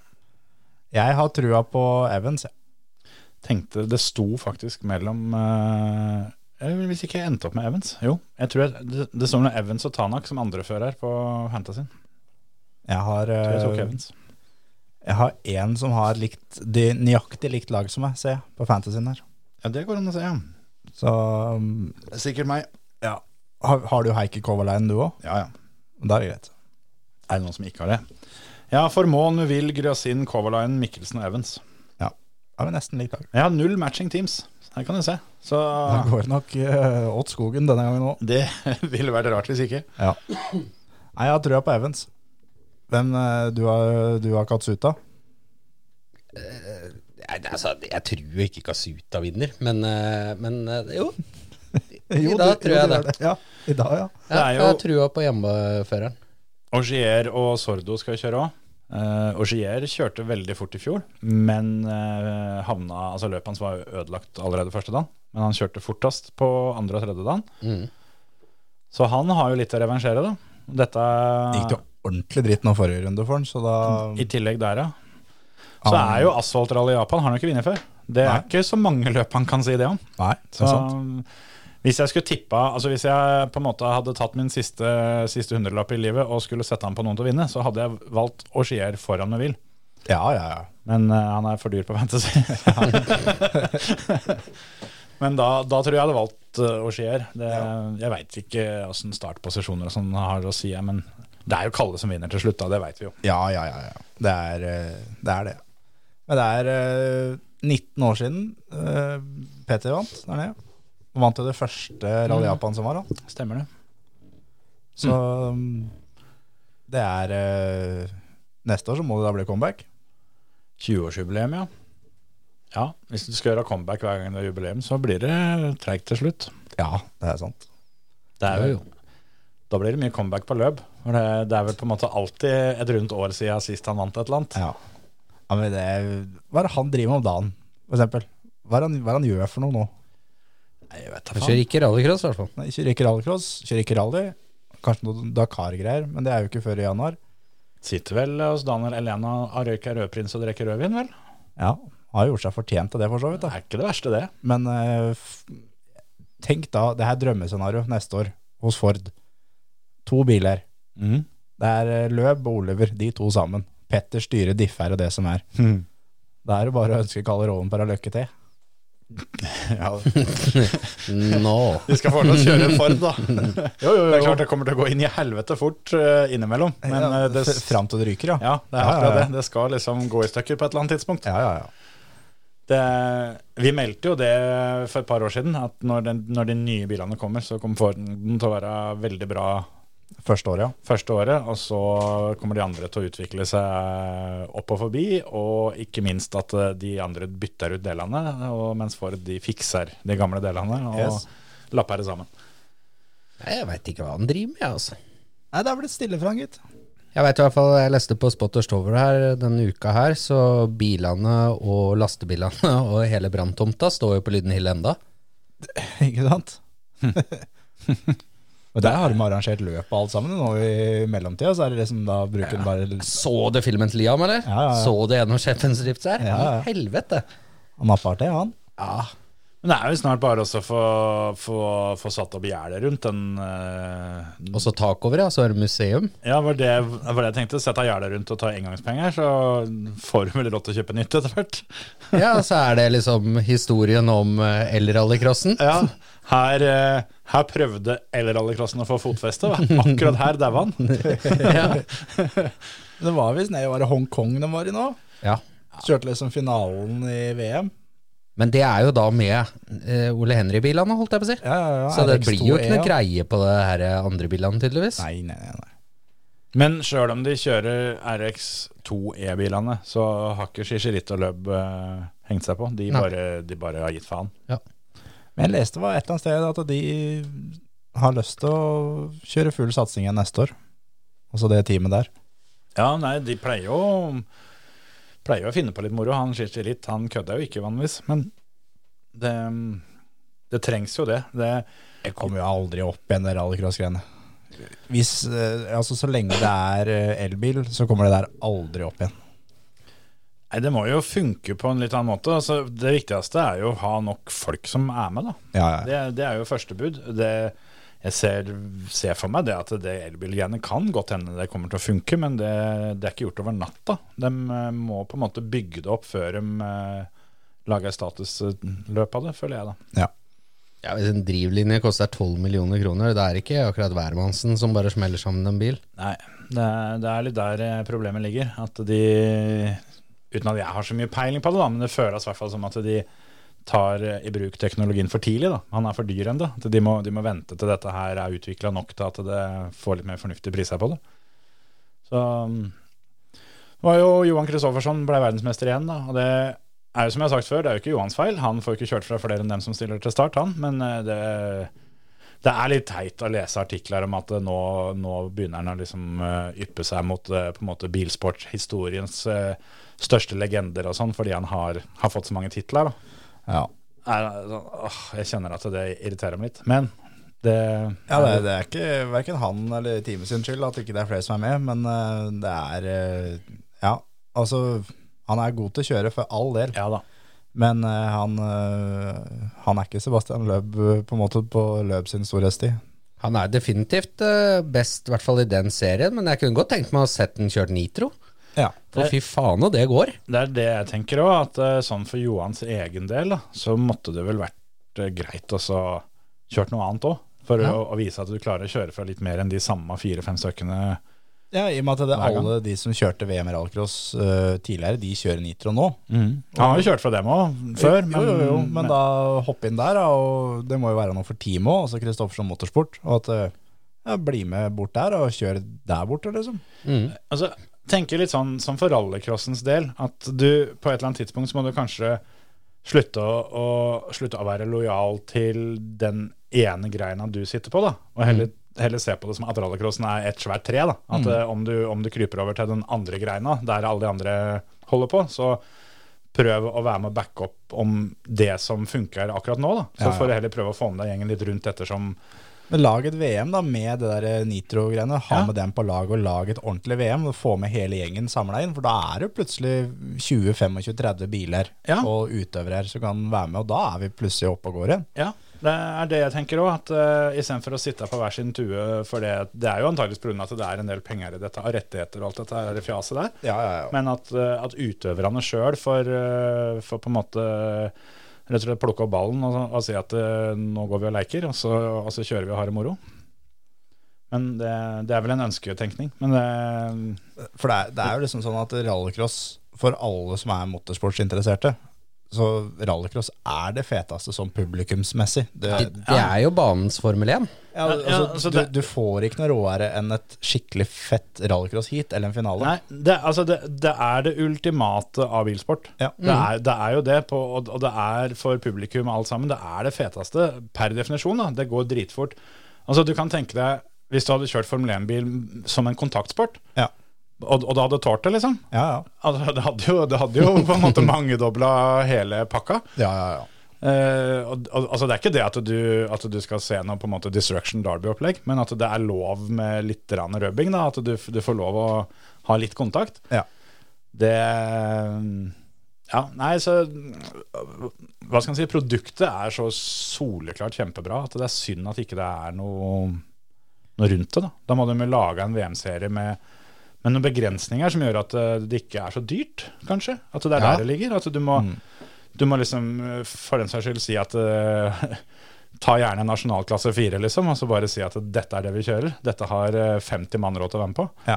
[SPEAKER 4] Jeg har trua på Evans. jeg.
[SPEAKER 3] tenkte Det sto faktisk mellom eh, eller Hvis ikke jeg endte opp med Evans. Jo, jeg tror jeg, det, det står mellom Evans og Tanak som andrefører på Fantasyen.
[SPEAKER 4] Jeg har,
[SPEAKER 3] Jeg tror jeg tok
[SPEAKER 4] eh,
[SPEAKER 3] Evans.
[SPEAKER 4] jeg har en som har likt, de, nøyaktig likt lag som meg, ser jeg, på fantasyen her.
[SPEAKER 3] Ja, det går an å se, ja.
[SPEAKER 4] Så um,
[SPEAKER 3] Sikkert meg.
[SPEAKER 4] ja. Har, har du Heikki Kovalainen, du òg?
[SPEAKER 3] Ja, ja.
[SPEAKER 4] Da er det greit.
[SPEAKER 3] Er det noen som ikke har det? Ja, Formoen, Will, Grøsin, Kovalainen, Mikkelsen og Evans.
[SPEAKER 4] Ja. Har vi nesten likt lag.
[SPEAKER 3] Jeg har null matching teams. Her kan du se. Så
[SPEAKER 4] Da går det nok eh, åt skogen denne gangen òg.
[SPEAKER 3] det ville vært rart hvis ikke.
[SPEAKER 4] Ja. Nei, jeg har trua på Evans. Hvem eh, du har, du har Katsuta?
[SPEAKER 5] Nei, det er altså, jeg tror ikke Kasuta vinner, men, eh, men eh, jo.
[SPEAKER 4] Jo,
[SPEAKER 5] dag
[SPEAKER 4] du-
[SPEAKER 5] tror
[SPEAKER 4] jo,
[SPEAKER 5] jeg
[SPEAKER 4] du
[SPEAKER 5] det.
[SPEAKER 4] gjør Ja, I dag, ja.
[SPEAKER 5] Ja,
[SPEAKER 3] Det er
[SPEAKER 5] jeg
[SPEAKER 3] jo-
[SPEAKER 5] har trua på hjemmeføreren.
[SPEAKER 3] Augier og Sordo skal kjøre òg. Uh, Augier kjørte veldig fort i fjor, men eh, havna, altså løpet hans var jo ødelagt allerede første dagen. Men han kjørte fortest på andre og tredje dagen.
[SPEAKER 5] Mm.
[SPEAKER 3] Så han har jo litt å revansjere, da. Dette
[SPEAKER 4] Det gikk jo ordentlig dritt nå forrige runde for han, så da
[SPEAKER 3] I tillegg der, ja. Så er jo asfaltrally i Japan, har han jo ikke vunnet før. Det er
[SPEAKER 4] Nei.
[SPEAKER 3] ikke så mange løp han kan si det om.
[SPEAKER 4] Nei, det
[SPEAKER 3] Så,
[SPEAKER 4] er sant.
[SPEAKER 3] hvis jeg skulle tippa Altså hvis jeg på en måte hadde tatt min siste, siste hundrelapp i livet og skulle sette han på noen til å vinne, så hadde jeg valgt Augier foran Neville.
[SPEAKER 4] Ja, ja, ja.
[SPEAKER 3] Men eh, han er for dyr på fantasy. Men da, da tror jeg jeg hadde valgt uh, Auxier. Det, Jeg veit ikke åssen startposisjoner og sånn har å si, jeg, men det er jo Kalle som vinner til slutt, da. Det veit vi jo.
[SPEAKER 4] Ja, ja, ja. ja. Det, er, eh, det er det. Men det er eh, 19 år siden eh, Peter vant der nede. Han vant jo det første Rally Japan som var, han.
[SPEAKER 3] Mm. Stemmer det.
[SPEAKER 4] Så um, det er eh, Neste år så må det da bli comeback.
[SPEAKER 3] 20-årsjubileum, ja. Ja, Hvis du skal gjøre comeback hver gang det er jubileum, så blir det treigt til slutt.
[SPEAKER 4] Ja, det er sant.
[SPEAKER 3] Det er jo Da blir det mye comeback på løp. For det, det er vel på en måte alltid et rundt år siden sist han vant et eller annet.
[SPEAKER 4] Ja. ja men det er, hva er det han driver med om dagen, for eksempel? Hva er det han, hva er det han gjør for noe nå? Nei, jeg vet da
[SPEAKER 5] Han kjører ikke rallycross, i hvert fall.
[SPEAKER 4] Nei, kjører ikke rallycross, kjører ikke rally. Kanskje noe Dakar-greier, men det er jo ikke før i januar.
[SPEAKER 3] Sitter vel hos Daniel Elena og røyker rødprins og drikker rødvin, vel?
[SPEAKER 4] Ja, har gjort seg fortjent av det, for så vidt.
[SPEAKER 3] Det
[SPEAKER 4] da.
[SPEAKER 3] er ikke det verste, det.
[SPEAKER 4] Men eh, f tenk da, det her drømmescenario neste år
[SPEAKER 3] Mhm.
[SPEAKER 4] hos Ford. To biler. Det er eh, Løb og Oliver, de to sammen. Petter styrer differ og det som er.
[SPEAKER 3] Mhm.
[SPEAKER 4] Da er det bare å ønske Kalle Rovenberg lykke til.
[SPEAKER 5] Nå.
[SPEAKER 3] Vi skal få til å kjøre en Ford, da. Det er klart det kommer til å gå inn i helvete fort eh, innimellom. Men eh, det,
[SPEAKER 4] f- fram til det ryker, ja.
[SPEAKER 3] ja, det er
[SPEAKER 4] Ja, ja,
[SPEAKER 3] akkurat
[SPEAKER 4] ja.
[SPEAKER 3] det. Det skal liksom gå i stykker på et eller annet tidspunkt.
[SPEAKER 4] Ja, ja, ja.
[SPEAKER 3] Det, vi meldte jo det for et par år siden, at når, den, når de nye bilene kommer, så kommer Forden til å være veldig bra
[SPEAKER 4] Første året, ja.
[SPEAKER 3] første året, og så kommer de andre til å utvikle seg eh, opp og forbi, og ikke minst at eh, de andre bytter ut delene, og mens Ford de fikser de gamle delene og
[SPEAKER 4] Yes.
[SPEAKER 3] lapper det sammen.
[SPEAKER 5] Nei, Jeg veit ikke hva han driver med, jeg, altså.
[SPEAKER 4] Nei, det er blitt stille fra han, gitt.
[SPEAKER 5] Jeg vet i hvert fall, jeg leste på Spotters Tower her denne uka her, så bilene og lastebilene og hele branntomta står jo på Lydenhill enda.
[SPEAKER 4] Ikke sant? Og der har de arrangert løp og alt sammen. Nå i mellomtida så er det liksom da bruker den bare
[SPEAKER 5] Så du filmen til Liam, eller?
[SPEAKER 4] Ja, ja, ja.
[SPEAKER 5] Så du gjennom sjefens rips her?
[SPEAKER 4] Ja, ja.
[SPEAKER 5] I helvete!
[SPEAKER 4] Han napper til, han.
[SPEAKER 5] Ja,
[SPEAKER 3] Men det er jo snart bare også å få, få, få satt opp gjerdet rundt den eh,
[SPEAKER 5] og så takover, ja, så er det museum.
[SPEAKER 3] Ja, var det var det jeg tenkte. Sette gjerdet rundt og ta engangspenger, så får du vel råd til å kjøpe nytt etter hvert.
[SPEAKER 5] Ja, så er det liksom historien om eh, elrallycrossen.
[SPEAKER 3] Ja, her, eh, her prøvde el-rallycrossen å få fotfeste. va? Akkurat her daua han.
[SPEAKER 5] Ja.
[SPEAKER 4] Det var visst nede var det Hongkong de var i nå.
[SPEAKER 5] ja.
[SPEAKER 4] Kjørte liksom finalen i VM.
[SPEAKER 5] Men det er jo da med eh, Ole Henry-bilene, holdt jeg på å si.
[SPEAKER 4] Ja, ja, ja.
[SPEAKER 5] Så det
[SPEAKER 4] RX2
[SPEAKER 5] blir jo ikke
[SPEAKER 4] E, ja.
[SPEAKER 5] noe greie på det her andre bilene, tydeligvis.
[SPEAKER 4] Nei, nei, nei. nei.
[SPEAKER 3] Men sjøl om de kjører RX2 E-bilene, så har ikke Shishirit og Løb eh, hengt seg på. De
[SPEAKER 5] Nei.
[SPEAKER 3] bare, de bare har gitt faen.
[SPEAKER 4] Men jeg leste var et eller annet sted at de har lyst til å kjøre full satsing igjen neste år. Altså det teamet der.
[SPEAKER 3] Ja, nei, de pleier jo Pleier jo å finne på litt moro. Han skiter litt, han kødder jo ikke vanligvis, men det, det trengs jo det. det.
[SPEAKER 4] Det kommer jo aldri opp igjen, det rallycross-greiene. Hvis, eh, altså Så lenge det er eh, elbil, så kommer det der aldri opp igjen.
[SPEAKER 3] Nei, Det må jo funke på en litt annen måte. Altså, det viktigste er jo å ha nok folk som er med. da.
[SPEAKER 4] Ja, ja.
[SPEAKER 3] Det, det er jo første bud. Det, jeg ser, ser for meg det at det elbilgreiene kan godt hende det kommer til å funke, men det, det er ikke gjort over natta. De eh, må på en måte bygge det opp før de eh, lager et statusløp av det, føler jeg da.
[SPEAKER 5] Ja, Hvis en drivlinje koster 12 millioner kroner, det er ikke akkurat hvermannsen som bare smeller sammen en bil.
[SPEAKER 3] Nei, det er, det er litt der eh, problemet ligger. At de, uten at jeg har så mye peiling på det, da, men det føles i hvert fall som at de tar eh, i bruk teknologien for tidlig. Da. Han er for dyr ennå. At De, må- de må vente til dette her er utvikla nok til at det får litt mer fornuftige priser på det. Så mm, det var jo Johan Kristoffersson ble verdensmester igjen, da. Og det er jo som jeg har sagt før, det er jo ikke Johans feil. Han får ikke kjørt fra flere enn dem som stiller til start, han. Men eh, det det er litt teit å lese artikler om at eh, nå, nå begynner han å liksom eh, yppe seg mot eh, på en måte bilsporthistoriens eh, største legender og sånn, fordi han har, har fått så mange titler. Da.
[SPEAKER 4] Ja,
[SPEAKER 3] Er, sånn, åh, jeg kjenner at det irriterer meg litt. Men det
[SPEAKER 4] ja det, det er ikke verken han eller teamet sin skyld at ikke det er flere som er med, men eh, det er eh, Ja, altså Han er god til å kjøre for all del,
[SPEAKER 3] Ja da.
[SPEAKER 4] men eh, han, eh, han er ikke Sebastian Løb eh, på en måte på Løb sin storhetstid.
[SPEAKER 5] Han er definitivt eh, best, i hvert fall i den serien, men jeg kunne godt tenkt meg å ha sett den kjørt nitro.
[SPEAKER 4] Ja.
[SPEAKER 5] For fy faen, og det går.
[SPEAKER 3] Det er det jeg tenker òg, at eh, sånn for Johans egen del, da, så måtte det vel vært eh, greit å så kjørt noe annet òg. For
[SPEAKER 5] Ja.
[SPEAKER 3] å, å vise at du klarer å kjøre fra litt mer enn de samme fire-fem stykkene.
[SPEAKER 4] ja, i og med at det
[SPEAKER 3] Hver gang.
[SPEAKER 4] alle de som kjørte VM i rallcross eh, tidligere, de kjører Nitro nå.
[SPEAKER 3] Han har jo kjørt fra dem òg, før.
[SPEAKER 4] jo, jo, jo, men, da hoppe inn der, da, og det må jo være noe for teamet òg, altså Kristoffersen Motorsport. Og at eh, ja, bli med bort der og kjøre der borte, liksom.
[SPEAKER 3] Altså, tenker litt sånn som for rallycrossens del, at du på et eller annet tidspunkt så må du kanskje slutte å, å, slutte å være lojal til den ene greina du sitter på, da.
[SPEAKER 4] Mm.
[SPEAKER 3] Og heller, heller se på det som at rallycrossen er et svært tre, da.
[SPEAKER 4] Mm.
[SPEAKER 3] At eh, om, du, om du kryper over til den andre greina, der alle de andre holder på, så prøv å være med og backe opp om det som funker akkurat nå, da. Så
[SPEAKER 4] Ja, ja.
[SPEAKER 3] får du heller prøve å få med deg gjengen litt rundt ettersom
[SPEAKER 4] Men lag et VM da med det der eh, Nitro-greiene. Ha
[SPEAKER 3] Ja.
[SPEAKER 4] med dem på lag og lag et ordentlig VM. Og få med hele gjengen samla inn. For da er det plutselig 20-25-30 biler
[SPEAKER 3] Ja.
[SPEAKER 4] og utøvere her som kan være med, og da er vi plutselig oppe og går igjen.
[SPEAKER 3] Ja, Det er det jeg tenker òg, at uh, istedenfor å sitte på hver sin tue for det Det er jo antakeligvis pga. at det er en del penger i dette, av rettigheter og alt dette her fjaset der.
[SPEAKER 4] Ja, ja, ja.
[SPEAKER 3] Men at, eh, at utøverne sjøl får, eh, får på en måte rett og slett plukke opp ballen og, og si at eh, nå går vi og leker, og så, og så kjører vi og har det moro. Men det, det er vel en ønsketenkning. Men det,
[SPEAKER 4] For det er, det er jo liksom sånn at rallycross, for alle som er motorsportsinteresserte, så rallycross er det feteste sånn publikumsmessig. Det,
[SPEAKER 5] Det, det er jo banens Formel 1.
[SPEAKER 4] ja,
[SPEAKER 3] Ja, ja,
[SPEAKER 4] altså,
[SPEAKER 3] altså
[SPEAKER 4] du,
[SPEAKER 3] det-
[SPEAKER 4] du får ikke noe råere enn et skikkelig fett rallycross-heat eller en finale.
[SPEAKER 3] nei, det, altså det, det er det ultimate av bilsport.
[SPEAKER 4] Ja.
[SPEAKER 3] Det, er, det er jo det, på, og, og det er for publikum alt sammen. Det er det feteste per definisjon. Da. Det går dritfort. Altså, du kan tenke deg, hvis du hadde kjørt Formel 1-bil som en kontaktsport,
[SPEAKER 4] Ja,
[SPEAKER 3] og, og du hadde tålt det, liksom.
[SPEAKER 4] ja, ja.
[SPEAKER 3] Altså, det, hadde jo, det hadde jo på en måte mangedobla hele pakka.
[SPEAKER 4] ja, ja, ja.
[SPEAKER 3] Eh, og, og, altså, det er ikke det at du, at du skal se noe på en måte Destruction Derby-opplegg, men at det er lov med litt grann rubbing. Da, at du, du får lov å ha litt kontakt.
[SPEAKER 4] Ja.
[SPEAKER 3] Det Ja, nei, så Hva skal en si? Produktet er så soleklart kjempebra at det er synd at ikke det er noe, noe rundt det. Da Da må de jo lage en VM-serie med, med noen begrensninger som gjør at eh, det ikke er så dyrt, kanskje. At det er
[SPEAKER 5] Ja.
[SPEAKER 3] der det ligger. At du må, du må liksom eh, for den saks skyld si at eh, Ta gjerne en nasjonalklasse fire, liksom, og så bare si at dette er det vi kjører. Dette har eh, 50 mann råd til å være med på.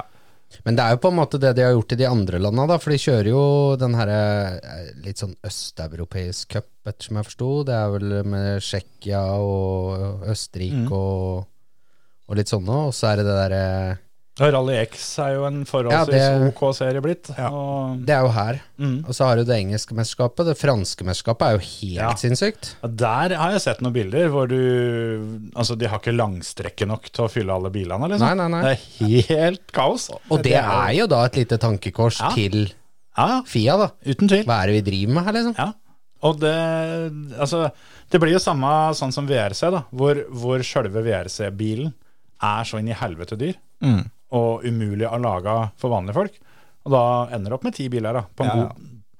[SPEAKER 5] Men det er jo på en måte det de har gjort i de andre landa, da, for de kjører jo den her eh, litt sånn østeuropeisk cup, ettersom jeg forsto. Det er vel med Tsjekkia og Østerrike
[SPEAKER 3] Mm.
[SPEAKER 5] og, og litt sånne, og så er det eh, det derre
[SPEAKER 3] Ja, Rally X er jo en forholdsvis
[SPEAKER 5] Ja, det-
[SPEAKER 3] OK serie blitt. Og,
[SPEAKER 5] Det er jo her.
[SPEAKER 3] Mm.
[SPEAKER 5] Og så har du det engelske mesterskapet. Det franske mesterskapet er jo helt
[SPEAKER 3] Ja.
[SPEAKER 5] sinnssykt.
[SPEAKER 3] Ja, der har jeg sett noen bilder hvor du Altså, de har ikke langstrekke nok til å fylle alle bilene,
[SPEAKER 5] Nei,
[SPEAKER 3] liksom.
[SPEAKER 5] nei, nei.
[SPEAKER 3] Det er helt kaos.
[SPEAKER 5] Og det er jo da et lite tankekors
[SPEAKER 3] Ja.
[SPEAKER 5] til
[SPEAKER 3] Ja, ja,
[SPEAKER 5] Fia, da.
[SPEAKER 3] uten tvil.
[SPEAKER 5] Hva er det vi driver med her, liksom?
[SPEAKER 3] Ja. Og det Altså, det blir jo samme sånn som VRC, da, hvor, hvor sjølve VRC-bilen er så inn i helvete dyr og umulig å lage for vanlige folk. Og da ender du opp med ti biler da, på en,
[SPEAKER 4] Ja, ja.
[SPEAKER 3] god,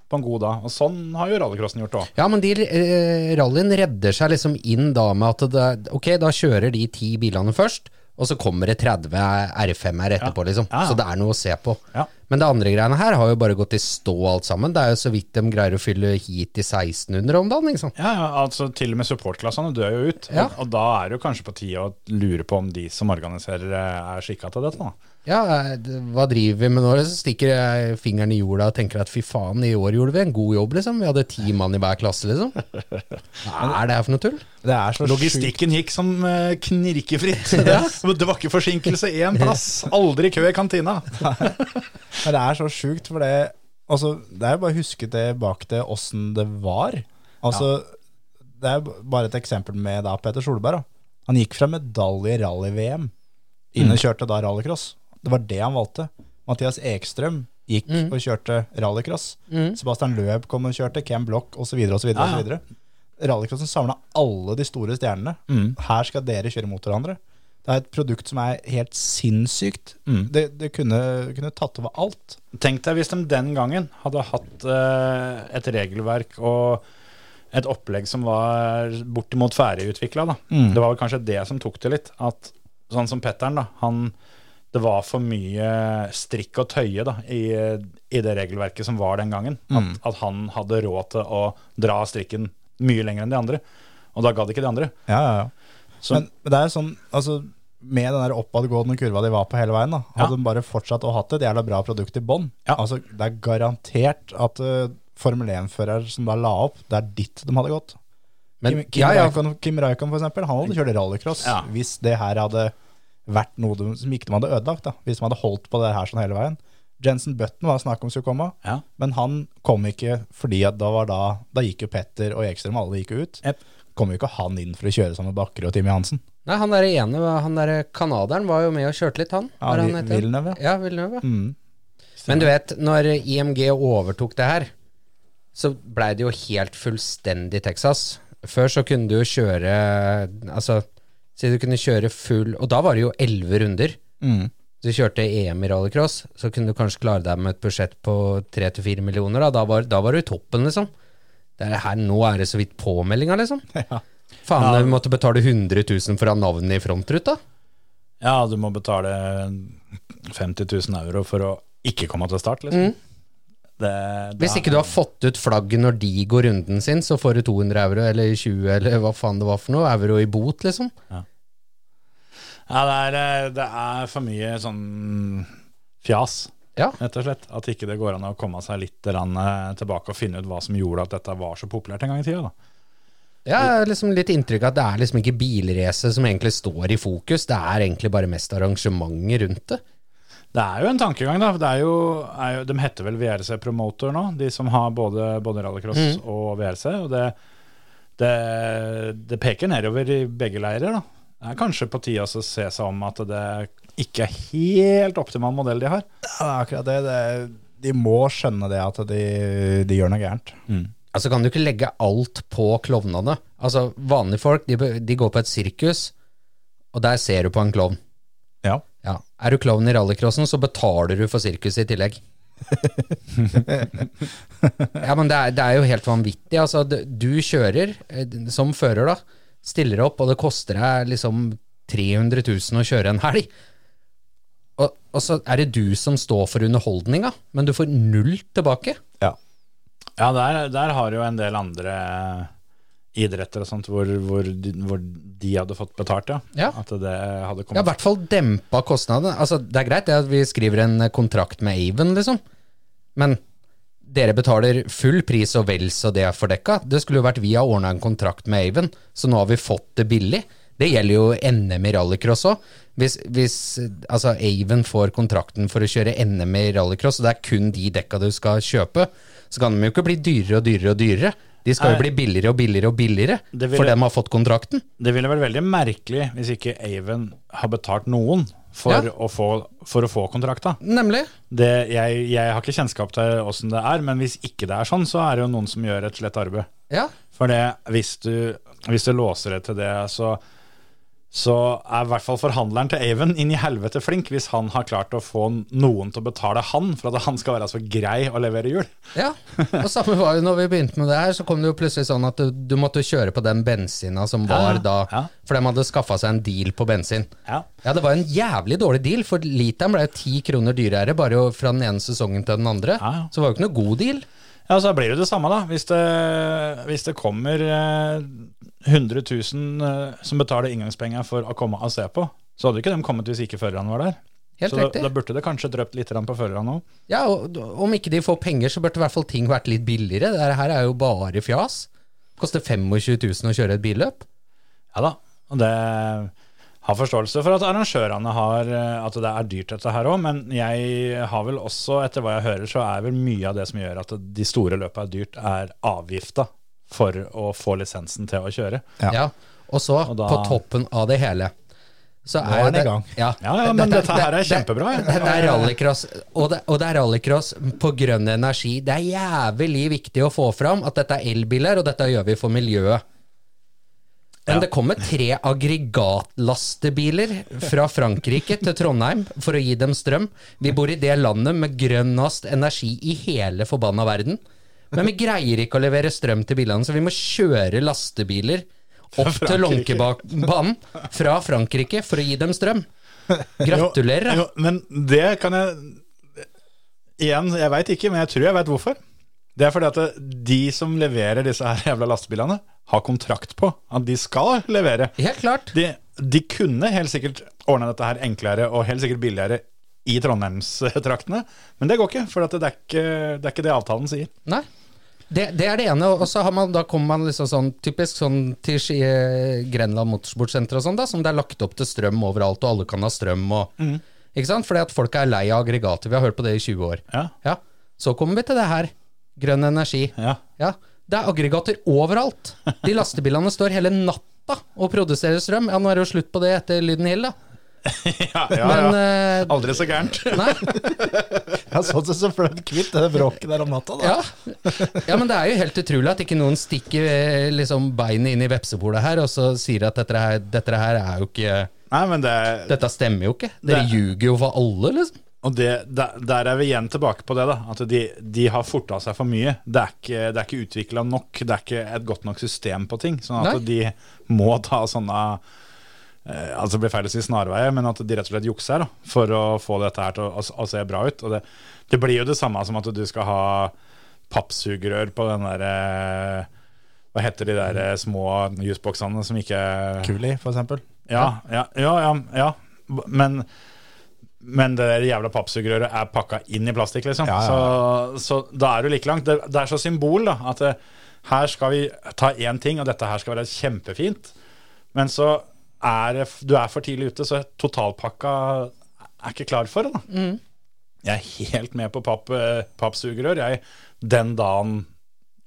[SPEAKER 3] på en god dag. Og sånn har jo rallycrossen gjort òg.
[SPEAKER 5] Ja, men de, eh, rallyen redder seg liksom inn da med at det, ok, da kjører de ti bilene først, og så kommer det 30 R5-er etterpå, liksom.
[SPEAKER 3] Ja, ja.
[SPEAKER 5] Så det er noe å se på.
[SPEAKER 3] Ja.
[SPEAKER 5] Men det andre greiene her har jo bare gått i stå alt sammen. Det er jo så vidt de greier å fylle heat i 1600 om dagen, liksom.
[SPEAKER 3] Ja, ja, altså til og med supportklassene dør jo ut.
[SPEAKER 5] Ja.
[SPEAKER 3] Og, og da er det jo kanskje på tide å lure på om de som organiserer eh, er skikka til dette. da.
[SPEAKER 5] Ja, eh, det- hva driver vi med nå? Så stikker jeg fingeren i jorda og tenker at fy faen, i år gjorde vi en god jobb, liksom. Vi hadde ti mann i hver klasse, liksom. Hva er det her for noe tull?
[SPEAKER 4] Det er så sjukt.
[SPEAKER 3] Logistikken gikk som eh, knirkefritt. Det, det var ikke forsinkelse én plass. Aldri kø i kantina.
[SPEAKER 4] Men det er så sjukt, for det altså, Det er jo bare å huske tilbake til åssen det var. Altså, Det er b- bare et eksempel med da Peter Solberg. Da. Han gikk fra medalje i rally-VM. Inn
[SPEAKER 3] Mm.
[SPEAKER 4] og kjørte da rallycross. Det var det han valgte. Mathias Ekstrøm gikk
[SPEAKER 3] Mm.
[SPEAKER 4] og kjørte rallycross. Sebastian Løb kom og kjørte. Cam Block osv. osv.
[SPEAKER 3] Ja, ja.
[SPEAKER 4] Rallycrossen samla alle de store stjernene. Her skal dere kjøre mot hverandre. Det er et produkt som er helt sinnssykt. Det, det kunne, kunne tatt over alt.
[SPEAKER 3] Tenk deg hvis de den gangen hadde hatt eh, et regelverk og et opplegg som var bortimot ferdigutvikla. da. Det var vel kanskje det som tok det litt. At sånn som Petteren, da, han Det var for mye strikk og tøye da, i, i det regelverket som var den gangen. At, at han hadde råd til å dra strikken mye lenger enn de andre. Og da gadd ikke de andre.
[SPEAKER 4] Ja, ja, ja.
[SPEAKER 3] Så-
[SPEAKER 4] men, men det er jo sånn, altså med den der oppadgående kurva de var på hele veien, da, hadde
[SPEAKER 3] Ja.
[SPEAKER 4] de bare fortsatt å hatt et jævla bra produkt i bånn.
[SPEAKER 3] Ja.
[SPEAKER 4] Altså, det er garantert at eh, Formel 1-fører som da la opp, det er dit de hadde gått. Kim,
[SPEAKER 5] Men,
[SPEAKER 4] Kim,
[SPEAKER 5] ja, ja,
[SPEAKER 4] Raikon, Kim Raikon, for eksempel, han hadde kjørt rallycross
[SPEAKER 3] Ja.
[SPEAKER 4] hvis det her hadde vært noe de, som ikke de hadde ødelagt, da, hvis de hadde holdt på det her sånn hele veien. Jensen Button var det snakk om skulle komme,
[SPEAKER 3] Ja.
[SPEAKER 4] men han kom ikke fordi at da var da, da gikk jo Petter og Ekstrøm, alle gikk jo ut.
[SPEAKER 3] Jep.
[SPEAKER 4] Kom jo ikke han inn for å kjøre sammen med Bakkerud og Timmy Hansen.
[SPEAKER 5] Nei, han der ene, han der kanaderen var jo med og kjørte litt, han. Hva
[SPEAKER 4] Ja, Mm.
[SPEAKER 5] er
[SPEAKER 4] Vi-
[SPEAKER 5] han heter?
[SPEAKER 4] Villeneuve,
[SPEAKER 5] Ja, Villeneuve. Men du vet, når IMG overtok det her, så blei det jo helt fullstendig Texas. Før så kunne du jo kjøre Altså, si du kunne kjøre full Og da var det jo elleve runder.
[SPEAKER 4] Mm.
[SPEAKER 5] Du kjørte EM i rallycross, så kunne du kanskje klare deg med et budsjett på 3-4 millioner. Da, da, var, da var du i toppen, liksom. Det er her, nå er det så vidt påmeldinga, liksom. Faen,
[SPEAKER 3] Ja.
[SPEAKER 5] vi måtte betale 100 000 for å ha navnet i frontruta.
[SPEAKER 3] Ja, du må betale 50 000 euro for å ikke komme til start, liksom. Det, det
[SPEAKER 5] Mm. Hvis ikke du har fått ut flagget når de går runden sin, så får du 200 euro eller 20 eller hva faen det var for noe, euro i bot, liksom.
[SPEAKER 3] Ja, det er, eh, det er for mye sånn fjas,
[SPEAKER 5] Ja.
[SPEAKER 3] rett og slett. At ikke det går an å komme seg litt grann, eh, tilbake og finne ut hva som gjorde at dette var så populært en gang i tida. Da.
[SPEAKER 5] Jeg har liksom litt inntrykk av at det er liksom ikke bilrace som egentlig står i fokus, det er egentlig bare mest arrangementet rundt det.
[SPEAKER 3] Det er jo en tankegang, da. for Det er jo, er jo, de heter vel VRC Promoter nå, de som har både, både rallycross
[SPEAKER 5] Mm.
[SPEAKER 3] og VRC. Og det, det, det peker nedover i begge leirer, da. Det er kanskje på tide å se seg om at det ikke er helt optimal modell de har.
[SPEAKER 4] Ja, det er akkurat det. det er, de må skjønne det at de, de gjør noe gærent.
[SPEAKER 3] Mm.
[SPEAKER 5] Altså kan du ikke legge alt på klovnene. Altså vanlige folk, de, be- de går på et sirkus, og der ser du på en klovn.
[SPEAKER 4] Ja.
[SPEAKER 5] Ja. Er du klovn i rallycrossen, så betaler du for sirkuset i tillegg. ja, men det er, det er jo helt vanvittig. Altså, du, du kjører, eh, som fører da, stiller opp, og det koster deg liksom 300 000 å kjøre en helg. Og, og så er det du som står for underholdninga, men du får null tilbake.
[SPEAKER 4] Ja.
[SPEAKER 3] Ja, der, der har jo en del andre idretter og sånt hvor, hvor, de, hvor de hadde fått betalt, ja.
[SPEAKER 5] Ja.
[SPEAKER 3] At det hadde
[SPEAKER 5] Ja, i
[SPEAKER 3] kommet
[SPEAKER 5] hvert fall dempa kostnadene. Altså, det er greit det at vi skriver en eh, kontrakt med Aven, liksom. Men dere betaler full pris og vel så det er fordekka. Det skulle jo vært vi har ordna en kontrakt med Aven, så nå har vi fått det billig. Det gjelder jo NM i rallycross òg. Hvis, hvis eh, altså, Aven får kontrakten for å kjøre NM i rallycross, og det er kun de dekka du skal kjøpe, så kan de jo ikke bli dyrere og dyrere og dyrere. De skal jo
[SPEAKER 3] Nei.
[SPEAKER 5] bli billigere og billigere og billigere,
[SPEAKER 3] Det vil-
[SPEAKER 5] for dem har fått kontrakten.
[SPEAKER 3] Det ville vært veldig merkelig hvis ikke Aven har betalt noen for,
[SPEAKER 5] Ja.
[SPEAKER 3] å, få, for å få kontrakta.
[SPEAKER 5] Nemlig.
[SPEAKER 3] Det, jeg, jeg har ikke kjennskap til åssen det er, men hvis ikke det er sånn, så er det jo noen som gjør et slett arbeid.
[SPEAKER 5] Ja.
[SPEAKER 3] For det, hvis, du, hvis du låser det til det, så, så er i hvert fall forhandleren til Aven inn i helvete flink hvis han har klart å få noen til å betale han for at han skal være så grei å levere hjul.
[SPEAKER 5] Ja, og samme var jo når vi begynte med det her, så kom det jo plutselig sånn at du, du måtte kjøre på den bensina som var da,
[SPEAKER 3] ja.
[SPEAKER 5] for de hadde skaffa seg en deal på bensin.
[SPEAKER 3] Ja.
[SPEAKER 5] Ja, det var en jævlig dårlig deal, for literen ble jo ti kroner dyrere bare jo fra den ene sesongen til den andre.
[SPEAKER 3] Ja, ja.
[SPEAKER 5] Så det var jo ikke noe god deal.
[SPEAKER 3] Ja, så blir det det samme, da. Hvis det, hvis det kommer eh, 100 000 eh, som betaler inngangspenger for å komme og se på, så hadde ikke de kommet hvis ikke førerne var der.
[SPEAKER 5] Helt
[SPEAKER 3] så da,
[SPEAKER 5] riktig.
[SPEAKER 3] da burde det kanskje drøpt litt grann på førerne òg.
[SPEAKER 5] Ja, og d- Om ikke de får penger, så burde i hvert fall ting vært litt billigere. Det her er jo bare fjas. Koster 25 000 å kjøre et billøp.
[SPEAKER 3] Ja da. Og det har forståelse for at arrangørene har eh, At det er dyrt, dette her òg, men jeg har vel også, etter hva jeg hører, så er vel mye av det som gjør at de store løpa er dyrt, er avgifta for å få lisensen til å kjøre.
[SPEAKER 5] Ja. Og så,
[SPEAKER 3] Og da-
[SPEAKER 5] på toppen av det hele så
[SPEAKER 4] er den i
[SPEAKER 5] det-
[SPEAKER 4] gang.
[SPEAKER 5] Ja,
[SPEAKER 3] Ja, ja, men dette her er
[SPEAKER 5] det- det-
[SPEAKER 3] kjempebra, jeg.
[SPEAKER 5] Det, det er rallycross, og det, og det er rallycross på grønn energi. Det er jævlig viktig å få fram at dette er elbiler, og dette gjør vi for miljøet. Men det kommer tre aggregatlastebiler fra Frankrike til Trondheim for å gi dem strøm. Vi bor i det landet med grønnest energi i hele forbanna verden. Men vi greier ikke å levere strøm til bilene, så vi må kjøre lastebiler opp til
[SPEAKER 3] Frankrike.
[SPEAKER 5] Lånkebanen fra Frankrike for å gi dem strøm. Gratulerer.
[SPEAKER 3] Jo,
[SPEAKER 5] da.
[SPEAKER 3] jo, men det kan jeg Igjen, jeg veit ikke, men jeg tror jeg veit hvorfor. Det er fordi at det- de som leverer disse her jævla lastebilene, har kontrakt på at de skal levere.
[SPEAKER 5] Helt klart.
[SPEAKER 3] De, de kunne helt sikkert ordna dette her enklere og helt sikkert billigere i Trondheimstraktene, men det går ikke, for at det, er ikke, det er ikke det avtalen sier.
[SPEAKER 5] Nei. Det, det er det ene, og så har man, da kommer man liksom sånn typisk sånn til Ski- eh, Grenland Motorsportsenter og sånn, da, som det er lagt opp til strøm overalt, og alle kan ha strøm og
[SPEAKER 3] Mm.
[SPEAKER 5] Ikke sant? Fordi at folk er lei av aggregater. Vi har hørt på det i 20 år.
[SPEAKER 3] Ja.
[SPEAKER 5] Så kommer vi til det her. Grønn energi.
[SPEAKER 3] Ja.
[SPEAKER 5] Ja, Det er aggregater overalt. De lastebilene står hele natta og produserer strøm. Ja, nå er det jo slutt på det etter Lyden Hill, da.
[SPEAKER 3] Ja, ja,
[SPEAKER 5] Men
[SPEAKER 3] ja.
[SPEAKER 5] eh,
[SPEAKER 3] Aldri så gærent.
[SPEAKER 5] Nei.
[SPEAKER 4] Ja, sånn sett så fløy de kvitt det bråket der om natta, da.
[SPEAKER 5] Ja. ja, men det er jo helt utrolig at ikke noen stikker eh, liksom beinet inn i vepsebolet her og så sier at dette her, dette her er jo ikke
[SPEAKER 3] Nei, men det,
[SPEAKER 5] Dette stemmer jo ikke. Dere
[SPEAKER 3] Det-
[SPEAKER 5] ljuger jo for alle, liksom.
[SPEAKER 3] Og det, der, der er vi igjen tilbake på det, da. At de, de har forta seg for mye. Det er ikke, det er ikke utvikla nok. Det er ikke et godt nok system på ting. Sånn at
[SPEAKER 5] Nei.
[SPEAKER 3] de må ta sånne eh, Altså det blir feil å si snarveier, men at de rett og slett jukser da, for å få dette her til å, å, å se bra ut. Og det, det blir jo det samme som at du skal ha pappsugerør på den derre Hva heter de der eh, små jusboksene som ikke
[SPEAKER 4] Kuli, for eksempel.
[SPEAKER 3] ja, ja, ja, ja, ja. B- Men, men det der jævla pappsugerøret er pakka inn i plastikk, liksom.
[SPEAKER 4] Ja, ja,
[SPEAKER 3] Så, så da er du like langt. Det, det er så symbol, da. At eh, her skal vi ta én ting, og dette her skal være kjempefint. Men så er det f- du er for tidlig ute, så totalpakka er ikke klar for det, da. Jeg er helt med på papp, eh, pappsugerør, jeg. Den dagen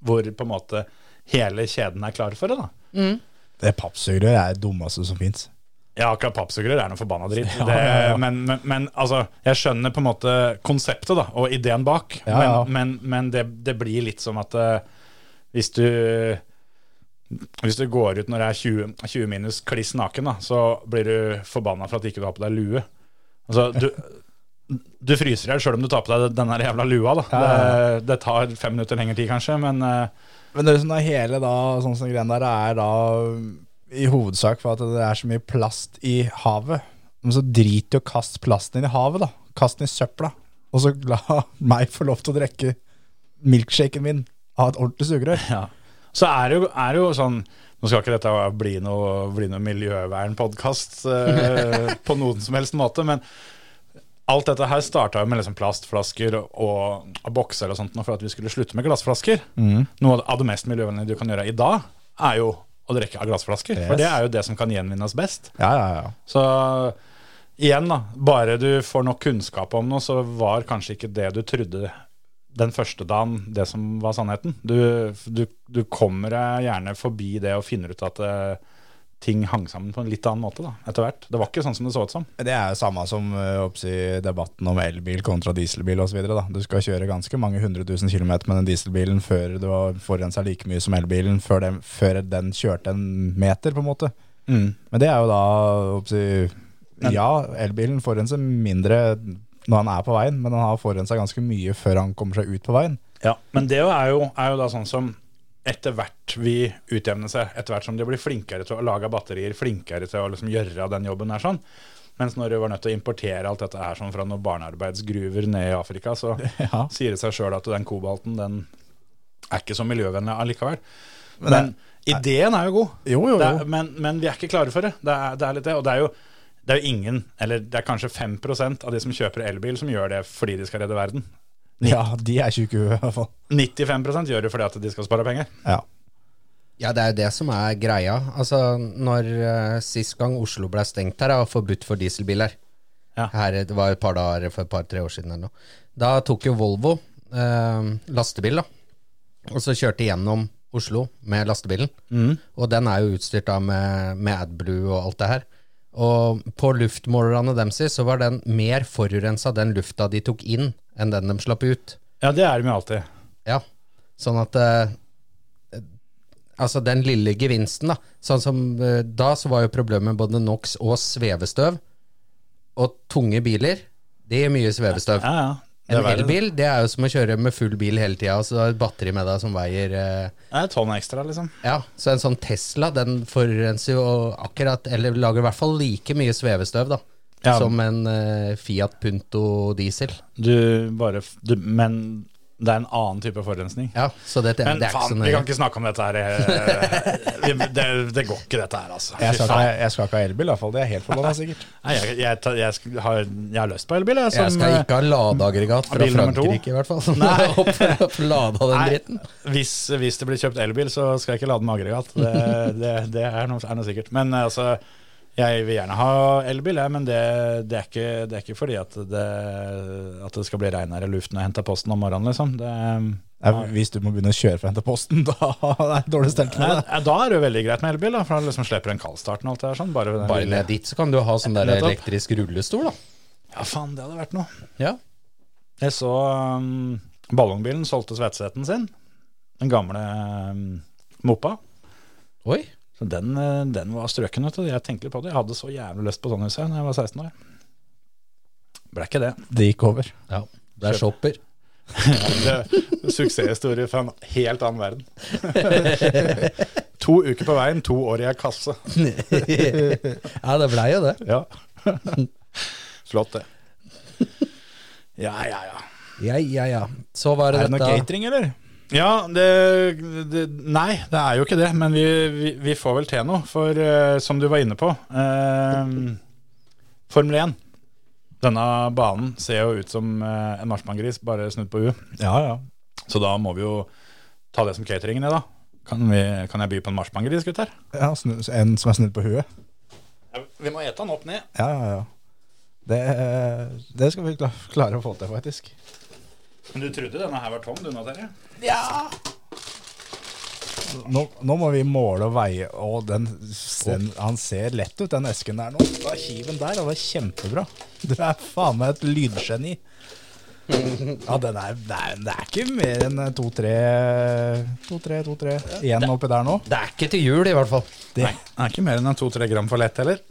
[SPEAKER 3] hvor på en måte hele kjeden er klar for det, da.
[SPEAKER 4] Det pappsugerør er det dummeste som fins.
[SPEAKER 3] Ja, akkurat pappsugerør er noe forbanna dritt.
[SPEAKER 4] Ja,
[SPEAKER 3] det,
[SPEAKER 4] ja, ja.
[SPEAKER 3] Men, men, men altså, jeg skjønner på en måte konseptet da, og ideen bak,
[SPEAKER 4] Ja, ja.
[SPEAKER 3] men, men, men det, det blir litt som at eh, hvis du hvis du går ut når det er 20, 20 minus kliss naken, da, så blir du forbanna for at ikke du har på deg lue. Altså, du, du fryser i hjel sjøl om du tar på deg den der jævla lua. Da.
[SPEAKER 4] Ja,
[SPEAKER 3] Det, det tar fem minutter lengre tid, kanskje, men eh,
[SPEAKER 4] Men det er sånn at hele da, sånn som greien der er da um, i hovedsak for at det er så mye plast i havet. Men så drit i å kaste plasten inn i havet, da. Kast den i søpla. Og så la meg få lov til å drikke milkshaken min av et ordentlig sugerør.
[SPEAKER 3] Ja. Så er det, jo, er det jo sånn Nå skal ikke dette bli noe, bli noe miljøvernpodkast eh, på noen som helst måte, men alt dette her starta jo med liksom plastflasker og, og bokser og sånt nå for at vi skulle slutte med glassflasker. Noe av det mest miljøvennlige du kan gjøre i dag, er jo å drikke av glassflasker.
[SPEAKER 4] Yes.
[SPEAKER 3] For det er jo det som kan gjenvinnes best.
[SPEAKER 4] Ja, ja, ja.
[SPEAKER 3] Så igjen, da. Bare du får nok kunnskap om noe, så var kanskje ikke det du trodde den første dagen, det som var sannheten. Du, du, du kommer deg gjerne forbi det og finner ut at eh, ting hang sammen på en litt annen måte da, etter hvert. Det var ikke sånn som det så ut som.
[SPEAKER 4] Det er jo samme som eh, oppsi, debatten om elbil kontra dieselbil osv. Du skal kjøre ganske mange hundre tusen kilometer med den dieselbilen før du har forurensa like mye som elbilen, før den, før den kjørte en meter, på en måte.
[SPEAKER 3] Mm.
[SPEAKER 4] Men det er jo da oppsi, Ja, elbilen forurenser mindre når han er på veien, men han har forurensa ganske mye før han kommer seg ut på veien.
[SPEAKER 3] Ja, men det er jo, er jo da sånn som etter hvert vi utjevner seg, etter hvert som de blir flinkere til å lage batterier, flinkere til å liksom gjøre den jobben her sånn. Mens når du var nødt til å importere alt dette her sånn fra noen barnearbeidsgruver nede i Afrika, så
[SPEAKER 4] Ja.
[SPEAKER 3] sier det seg sjøl at den kobalten den er ikke så miljøvennlig allikevel. Men,
[SPEAKER 4] Men
[SPEAKER 3] ideen er jo god.
[SPEAKER 4] Jo, jo, jo.
[SPEAKER 3] Det er, men, men vi er ikke klare for det. Det er, det er litt det. Og det er jo det er jo ingen, eller det er kanskje 5 av de som kjøper elbil, som gjør det fordi de skal redde verden.
[SPEAKER 4] Ja, de er tjukke i hvert fall.
[SPEAKER 3] 95 gjør det fordi at de skal spare penger.
[SPEAKER 4] Ja.
[SPEAKER 5] Ja, det er jo det som er greia. Altså, når eh, sist gang Oslo ble stengt her, og forbudt for dieselbiler
[SPEAKER 3] Ja.
[SPEAKER 5] Her, Det var et par dager for et par-tre år siden eller noe. Da tok jo Volvo eh, lastebil, da. Og så kjørte gjennom Oslo med lastebilen. Og den er jo utstyrt da med, med AdBlue og alt det her. Og på luftmålerne deres så var den mer forurensa, den lufta de tok inn, enn den de slapp ut.
[SPEAKER 3] Ja, det er de jo alltid.
[SPEAKER 5] Ja, sånn at eh, Altså den lille gevinsten da Sånn som eh, da så var jo problemet med både NOx og svevestøv Og tunge biler Det gir mye svevestøv
[SPEAKER 3] Ja, ja. Det
[SPEAKER 5] En
[SPEAKER 3] er verre.
[SPEAKER 5] elbil, det er jo som å kjøre med full bil hele tiden Og så har du et batteri med deg som veier eh,
[SPEAKER 3] Det er et tonn ekstra, liksom.
[SPEAKER 5] Ja, så en sånn Tesla Den forurenser jo akkurat Eller lager i hvert fall like mye svevestøv da
[SPEAKER 3] Ja.
[SPEAKER 5] Som en eh, Fiat Punto diesel
[SPEAKER 3] Du bare f- du, Men det er en annen type forurensning.
[SPEAKER 5] Ja, så det, det,
[SPEAKER 3] Men
[SPEAKER 5] det er ikke
[SPEAKER 3] faen,
[SPEAKER 5] så
[SPEAKER 3] vi
[SPEAKER 5] nøye
[SPEAKER 3] kan ikke snakke om dette her. eh, vi- Det, det går ikke, dette her, altså.
[SPEAKER 4] Jeg
[SPEAKER 3] Fy
[SPEAKER 4] skal,
[SPEAKER 3] faen.
[SPEAKER 4] ikke, jeg skal ikke ha elbil, i hvert fall. Det er helt forbanna sikkert.
[SPEAKER 3] Nei, jeg, jeg, tar- jeg, sk- har, jeg har lyst på elbil, jeg.
[SPEAKER 5] Jeg skal ikke ha ladeaggregat fra
[SPEAKER 3] bil nummer to?
[SPEAKER 5] Frankrike, i hvert fall. Nei. Opp, opp, lada den dritten.
[SPEAKER 3] hvis, hvis det blir kjøpt elbil, så skal jeg ikke lade med aggregat. Det, det, det er, noe, er noe sikkert. Men eh, altså, jeg vil gjerne ha elbil, jeg, men det, det, er ikke, det er ikke fordi at det, at det skal bli regnere i luften og hente posten om morgenen, liksom. Det,
[SPEAKER 4] Nei, hvis du må begynne å kjøre fra Henteposten, da er det dårlig stelt
[SPEAKER 3] Nei,
[SPEAKER 4] med deg.
[SPEAKER 3] ja, da er det jo veldig greit med elbil, da, for da liksom slipper du den kaldstarten og alt det der. Sånn, bare,
[SPEAKER 5] Bare ned dit, så kan du ha sånn der
[SPEAKER 3] Nettopp.
[SPEAKER 5] elektrisk rullestol, da.
[SPEAKER 3] Ja, faen, det hadde vært noe.
[SPEAKER 5] Ja.
[SPEAKER 3] Jeg så um, ballongbilen solgte Svetseten sin, den gamle um, moppa.
[SPEAKER 5] Oi.
[SPEAKER 3] Så den, eh, den var strøken, vet du. Jeg tenkte litt på det. Jeg hadde så jævlig lyst på sånn hus jeg, da jeg var 16 år. Ble ikke det.
[SPEAKER 4] Det gikk over.
[SPEAKER 5] Ja. Det er shopper.
[SPEAKER 3] det suksesshistorie fra en helt annen verden. to uker på veien, to år i ei kasse.
[SPEAKER 5] ja, det blei jo det.
[SPEAKER 3] Ja. Flott, det. Ja, ja, ja.
[SPEAKER 5] Ja, ja, ja. Så var det,
[SPEAKER 4] Er det noe
[SPEAKER 5] dette
[SPEAKER 4] catering, eller?
[SPEAKER 3] Ja, det, det Nei, det er jo ikke det, men vi, vi, vi får vel til noe. For eh, som du var inne på eh, Formel 1. Denne banen ser jo ut som eh, en marsipanggris, bare snudd på huet.
[SPEAKER 4] Ja, ja.
[SPEAKER 3] Så da må vi jo ta det som cateringen i, da. Kan, vi, kan jeg by på en marsipanggris, gutter?
[SPEAKER 4] ja snu, en som er snudd på huet?
[SPEAKER 3] Vi må ete den opp ned.
[SPEAKER 4] Ja, ja, ja. Det, eh, det skal vi kla- klare å få til, faktisk.
[SPEAKER 3] Men du trodde denne her var tom, du nå, Terje?
[SPEAKER 4] Nå, nå må vi måle og veie. Å, den, den, han ser lett ut, den esken der nå. Da Kiven der, det var kjempebra. Du er faen meg et lydgeni. Ja, den er, det er, det er ikke mer enn to-tre To-tre, to-tre igjen oppi der nå.
[SPEAKER 5] Det er ikke til jul, i hvert fall.
[SPEAKER 4] Det,
[SPEAKER 3] Nei, det er ikke mer enn en to-tre gram for lett, heller.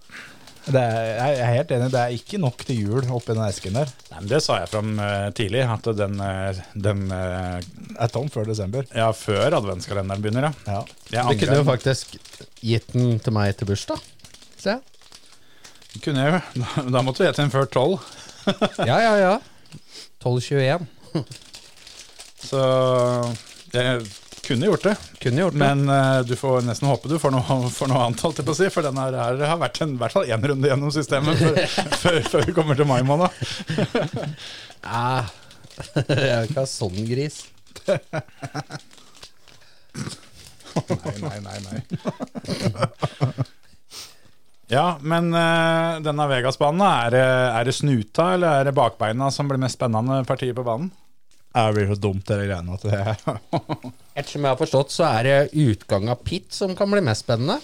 [SPEAKER 4] det er, jeg er helt enig, det er ikke nok til jul oppi den esken der.
[SPEAKER 3] Nei, men Det sa jeg fram eh, tidlig, at den, eh, den eh,
[SPEAKER 4] Det er tom før desember.
[SPEAKER 3] Ja, før adventskalenderen begynner, ja.
[SPEAKER 4] Ja.
[SPEAKER 3] Jeg
[SPEAKER 5] Du kunne jo
[SPEAKER 3] angrer.
[SPEAKER 5] faktisk gitt den til meg til bursdag. Se.
[SPEAKER 3] Kunne jeg jo. Da, da måtte vi ete den før tolv.
[SPEAKER 5] Ja, ja, ja. 12.21.
[SPEAKER 3] Så jeg kunne gjort det.
[SPEAKER 5] Kunne gjort det.
[SPEAKER 3] Men eh, du får nesten håpe du får noe, får noe annet, holdt jeg på å si. For den her, her har vært en, i hvert fall én runde gjennom systemet før, før, før vi kommer til mai måned.
[SPEAKER 5] Ah. Jeg vil ikke ha sånn gris.
[SPEAKER 4] Nei, nei, nei, nei.
[SPEAKER 3] Ja, men eh, denne Vegas-banen, er, det- er det snuta eller er det bakbeina som blir mest spennende partiet på banen?
[SPEAKER 4] Det blir så dumt, dette greiene. At det,
[SPEAKER 5] Ettersom jeg har forstått, så er det utgang av pit som kan bli mest spennende.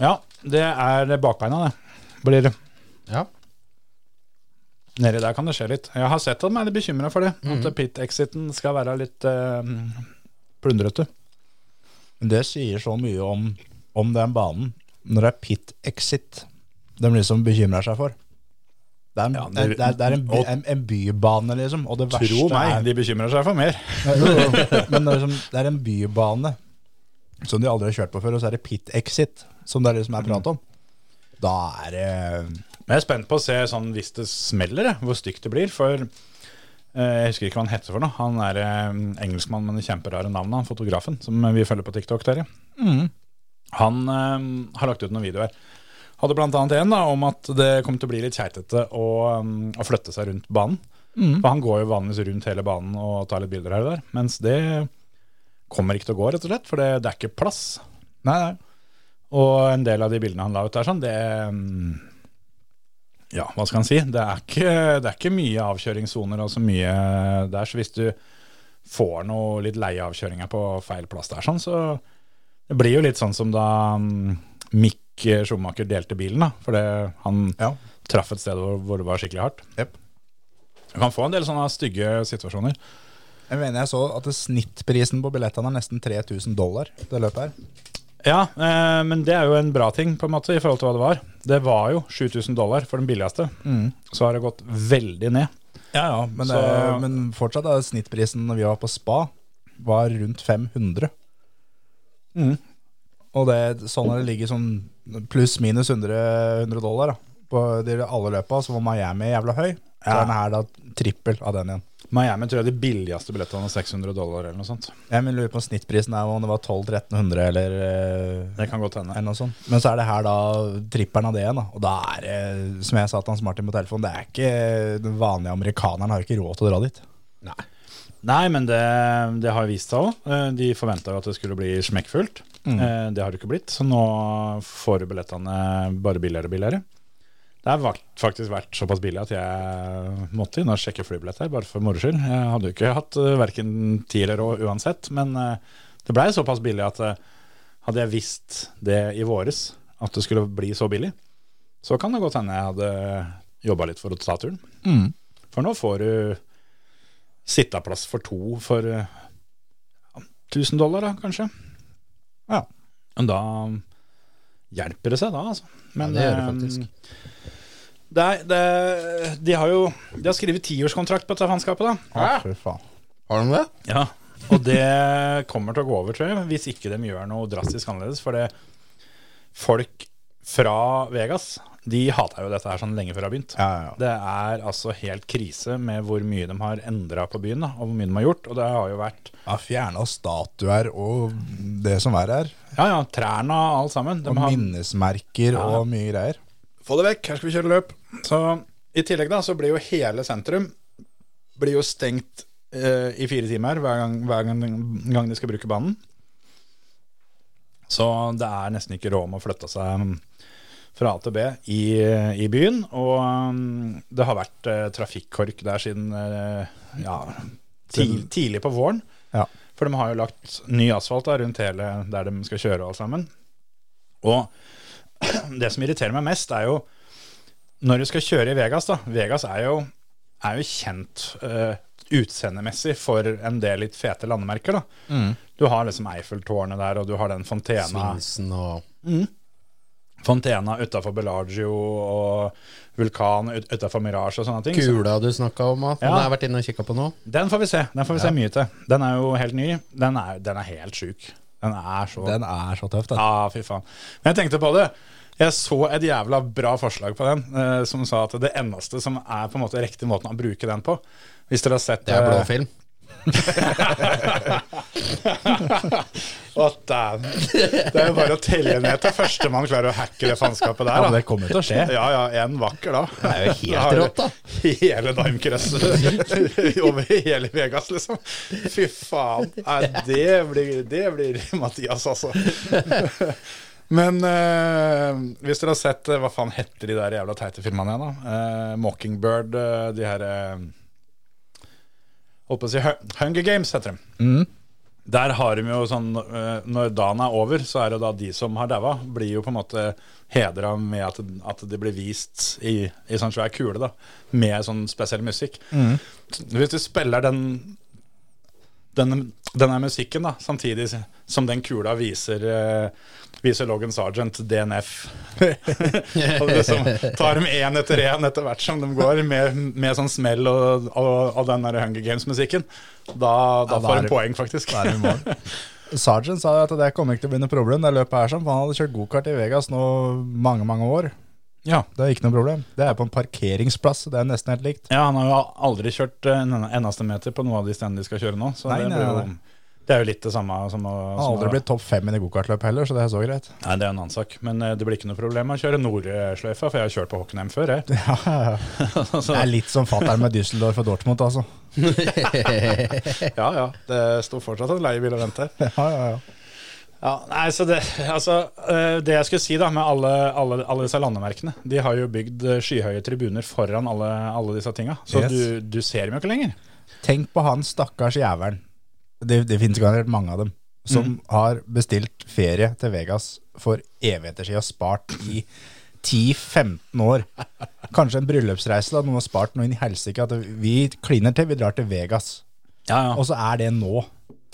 [SPEAKER 3] Ja, det er bakbeina, det. Blir det.
[SPEAKER 5] Ja.
[SPEAKER 3] Nedi der kan det skje litt. Jeg har sett at de er litt bekymra for det. At pit-exiten skal være litt eh, plundrete.
[SPEAKER 4] Men det sier så mye om, om den banen. Når det er pit exit de liksom bekymrer seg for. Det er en, det,
[SPEAKER 3] det-
[SPEAKER 4] er, det er en, by,
[SPEAKER 3] og-
[SPEAKER 4] en, en bybane, liksom. Og det verste
[SPEAKER 3] Tro meg,
[SPEAKER 4] er
[SPEAKER 3] de bekymrer seg for mer.
[SPEAKER 4] Jo, jo, jo. Men det er, liksom, det er en bybane som de aldri har kjørt på før, og så er det pit exit, som det er liksom er prat om. Da er det
[SPEAKER 3] Men jeg er spent på å se sånn hvis det smeller, jeg, hvor stygt det blir. For eh, jeg husker ikke hva han heter for noe. Han er eh, engelskmann med det kjemperare navnet, han fotografen som vi følger på TikTok, dere. Han eh, har lagt ut noen videoer. Hadde blant annet en da, om at det kom til å bli litt keitete å, um, å flytte seg rundt banen. For han går jo vanligvis rundt hele banen og tar litt bilder her og der. Mens det kommer ikke til å gå, rett og slett, for det, det er ikke plass.
[SPEAKER 4] Nei, nei.
[SPEAKER 3] Og en del av de bildene han la ut der, sånn, det mm, Ja, hva skal han si? Det er ikke, det er ikke mye avkjøringssoner og så mye der, så hvis du får noe litt leie avkjøringer på feil plass der, sånn, så det blir jo litt sånn som da mm, Mick Schumacher delte bilen, da. For det, han
[SPEAKER 4] Ja.
[SPEAKER 3] traff et sted hvor, hvor det var skikkelig hardt.
[SPEAKER 4] Jep.
[SPEAKER 3] Du kan få en del sånne stygge situasjoner.
[SPEAKER 4] Jeg mener jeg så at det snittprisen på billettene er nesten 3000 dollar, det løpet her.
[SPEAKER 3] Ja, eh, men det er jo en bra ting på en måte i forhold til hva det var. Det var jo 7000 dollar for den billigste. Så har det gått veldig ned.
[SPEAKER 4] Ja, ja, men,
[SPEAKER 3] Så-
[SPEAKER 4] det, men fortsatt er snittprisen når vi var på spa, var rundt 500. Og det, sånn har det ligget sånn pluss-minus 100, 100 dollar da. på de alle løpa, så var Miami jævla høy. Så
[SPEAKER 3] Ja.
[SPEAKER 4] er den her da trippel av den igjen.
[SPEAKER 3] Miami tror jeg de billigste billettene var 600 dollar eller noe sånt.
[SPEAKER 4] Jeg lurer på om snittprisen er om det var 1200-1300 eller, eh,
[SPEAKER 3] Det kan godt hende.
[SPEAKER 4] eller noe sånt. Men så er det her da trippelen av det igjen. Da. Og da er det, som jeg sa til Hans Martin på telefonen, det er ikke den vanlige amerikaneren har jo ikke råd til å dra dit.
[SPEAKER 5] Nei.
[SPEAKER 3] Nei, men det, det har vist seg òg. De forventa jo at det skulle bli smekkfullt. Eh, Det har det ikke blitt, så nå får du billettene bare billigere og billigere. Det har vakt- faktisk vært såpass billig at jeg måtte inn og sjekke flybilletter, bare for moro skyld. Jeg hadde jo ikke hatt verken tid eller råd uansett, men eh, det blei såpass billig at eh, hadde jeg visst det i våres, at det skulle bli så billig, så kan det godt hende jeg hadde jobba litt for å ta turen.
[SPEAKER 5] Mm.
[SPEAKER 3] For nå får du sitteplass for to for eh, ja, 1000 dollar, da, kanskje. Ja. Men da hjelper det seg, da, altså.
[SPEAKER 5] Ja,
[SPEAKER 3] Men,
[SPEAKER 5] det gjør det
[SPEAKER 3] eh,
[SPEAKER 5] faktisk.
[SPEAKER 3] Det er, det, de har jo De har skrevet tiårskontrakt på dette faenskapet, da.
[SPEAKER 4] Å, fy faen.
[SPEAKER 6] Har de det?
[SPEAKER 3] Ja. Og det kommer til å gå over, tror jeg, hvis ikke de gjør noe drastisk annerledes. For det folk fra Vegas, de hata jo dette her sånn lenge før det har begynt.
[SPEAKER 4] Ja, ja, ja.
[SPEAKER 3] Det er altså helt krise med hvor mye de har endra på byen, da, og hvor mye de har gjort. Og det har jo vært
[SPEAKER 4] ja Fjerna statuer og det som er her.
[SPEAKER 3] ja, ja, trærne og alt sammen. De
[SPEAKER 4] Og
[SPEAKER 3] har
[SPEAKER 4] minnesmerker og mye greier.
[SPEAKER 3] Få det vekk, her skal vi kjøre løp. Så I tillegg da, så blir jo hele sentrum Blir jo stengt eh, i fire timer hver gang, hver gang, gang de skal bruke banen. Så det er nesten ikke råd om å flytte seg mm, fra A til B i, i byen. Og mm, det har vært eh, trafikkork der siden eh, ja, ti, tidlig på våren.
[SPEAKER 4] Ja.
[SPEAKER 3] For de har jo lagt ny asfalt da, rundt hele der de skal kjøre og alt sammen. Og det som irriterer meg mest, er jo når du skal kjøre i Vegas, da. Vegas er jo, er jo kjent eh, utseendemessig for en del litt fete landemerker, da. Du har liksom Eiffeltårnet der, og du har den fontena,
[SPEAKER 5] Svinsen og
[SPEAKER 3] fontena utafor Bellagio, og vulkan utafor Mirage og sånne ting. Så-
[SPEAKER 5] Kula du snakka om, at
[SPEAKER 3] Ja.
[SPEAKER 5] han har vært inne og kikka på nå.
[SPEAKER 3] Den får vi se. Den får vi se mye til. Den er jo helt ny. Den er, den er helt sjuk. Den er så
[SPEAKER 4] Den er så tøff, den.
[SPEAKER 3] Ja, fy faen. Men jeg tenkte på det. Jeg så et jævla bra forslag på den, eh, som sa at det eneste som er på en måte riktig måten å bruke den på Hvis dere har sett
[SPEAKER 5] Det er
[SPEAKER 3] eh,
[SPEAKER 5] blå film.
[SPEAKER 3] Å, dæven. Det er jo bare å telle ned til førstemann klarer å hacke det faenskapet der.
[SPEAKER 4] Ja,
[SPEAKER 3] da.
[SPEAKER 4] men det kommer til å skje.
[SPEAKER 3] Ja, ja, en vakker da. Det
[SPEAKER 5] er jo helt rått, da.
[SPEAKER 3] Hele Dimecrest over hele Vegas, liksom. Fy faen. Nei, det, blir, det blir Mathias, altså. Men eh, hvis dere har sett eh, Hva faen heter de der jævla teite filmene igjen, da? Eh, Mockingbird, eh, de her eh, Holdt på å si Hu- Hunger Games, heter de. Der har de jo sånn eh, Når dagen er over, så er det da de som har daua, blir jo på en måte hedra med at, at de blir vist i, i sånn svær kule, da. Med sånn spesiell musikk. Hvis du spiller den denne, denne musikken, da, samtidig som den kula viser eh, Viser Logan Sergeant DNF. og liksom tar dem én etter én etter hvert som de går, med, med sånn smell og, og, og den der Hunger Games-musikken. Da, da
[SPEAKER 4] Ja, da er
[SPEAKER 3] får
[SPEAKER 4] det-
[SPEAKER 3] de poeng, faktisk.
[SPEAKER 4] Da er det i morgen. Sergeant sa jo at det kommer ikke til å bli noe problem, det løpet her som, for han hadde kjørt gokart i Vegas nå mange, mange år.
[SPEAKER 3] Ja.
[SPEAKER 4] Det er ikke noe problem. Det er på en parkeringsplass, så det er nesten helt likt.
[SPEAKER 3] Ja, han har jo aldri kjørt eh, en eneste meter på noe av de stedene de skal kjøre nå. Så
[SPEAKER 4] Nei,
[SPEAKER 3] det,
[SPEAKER 4] nei,
[SPEAKER 3] blir jo,
[SPEAKER 4] nei.
[SPEAKER 3] det er jo litt det samme som å
[SPEAKER 4] Han har
[SPEAKER 3] som å-
[SPEAKER 4] aldri blitt topp fem i det gokartløpet heller, så det er så greit.
[SPEAKER 3] Nei, det er en annen sak. Men eh, det blir ikke noe problem å kjøre Nordsløyfa, for jeg har kjørt på Hockenheim før, jeg.
[SPEAKER 4] Det er litt som fatter'n med Düsseldorf og Dortmund, altså.
[SPEAKER 3] Ja, ja. Det står fortsatt en leiebil og venter.
[SPEAKER 4] Ja, ja, ja.
[SPEAKER 3] Ja, nei, så det, altså, eh, det jeg skulle si da, med alle, alle, alle disse landemerkene De har jo bygd eh, skyhøye tribuner foran alle, alle disse tinga, så
[SPEAKER 4] Yes.
[SPEAKER 3] du, du ser dem jo ikke lenger.
[SPEAKER 4] Tenk på han stakkars jævelen. Det, det finnes garantert mange av dem. Som har bestilt ferie til Vegas for evigheter siden og spart i 10-15 år. Kanskje en bryllupsreise da, noen har spart noe inn i helsike. At vi kliner til, vi drar til Vegas.
[SPEAKER 3] Ja, ja.
[SPEAKER 4] Og så er det nå.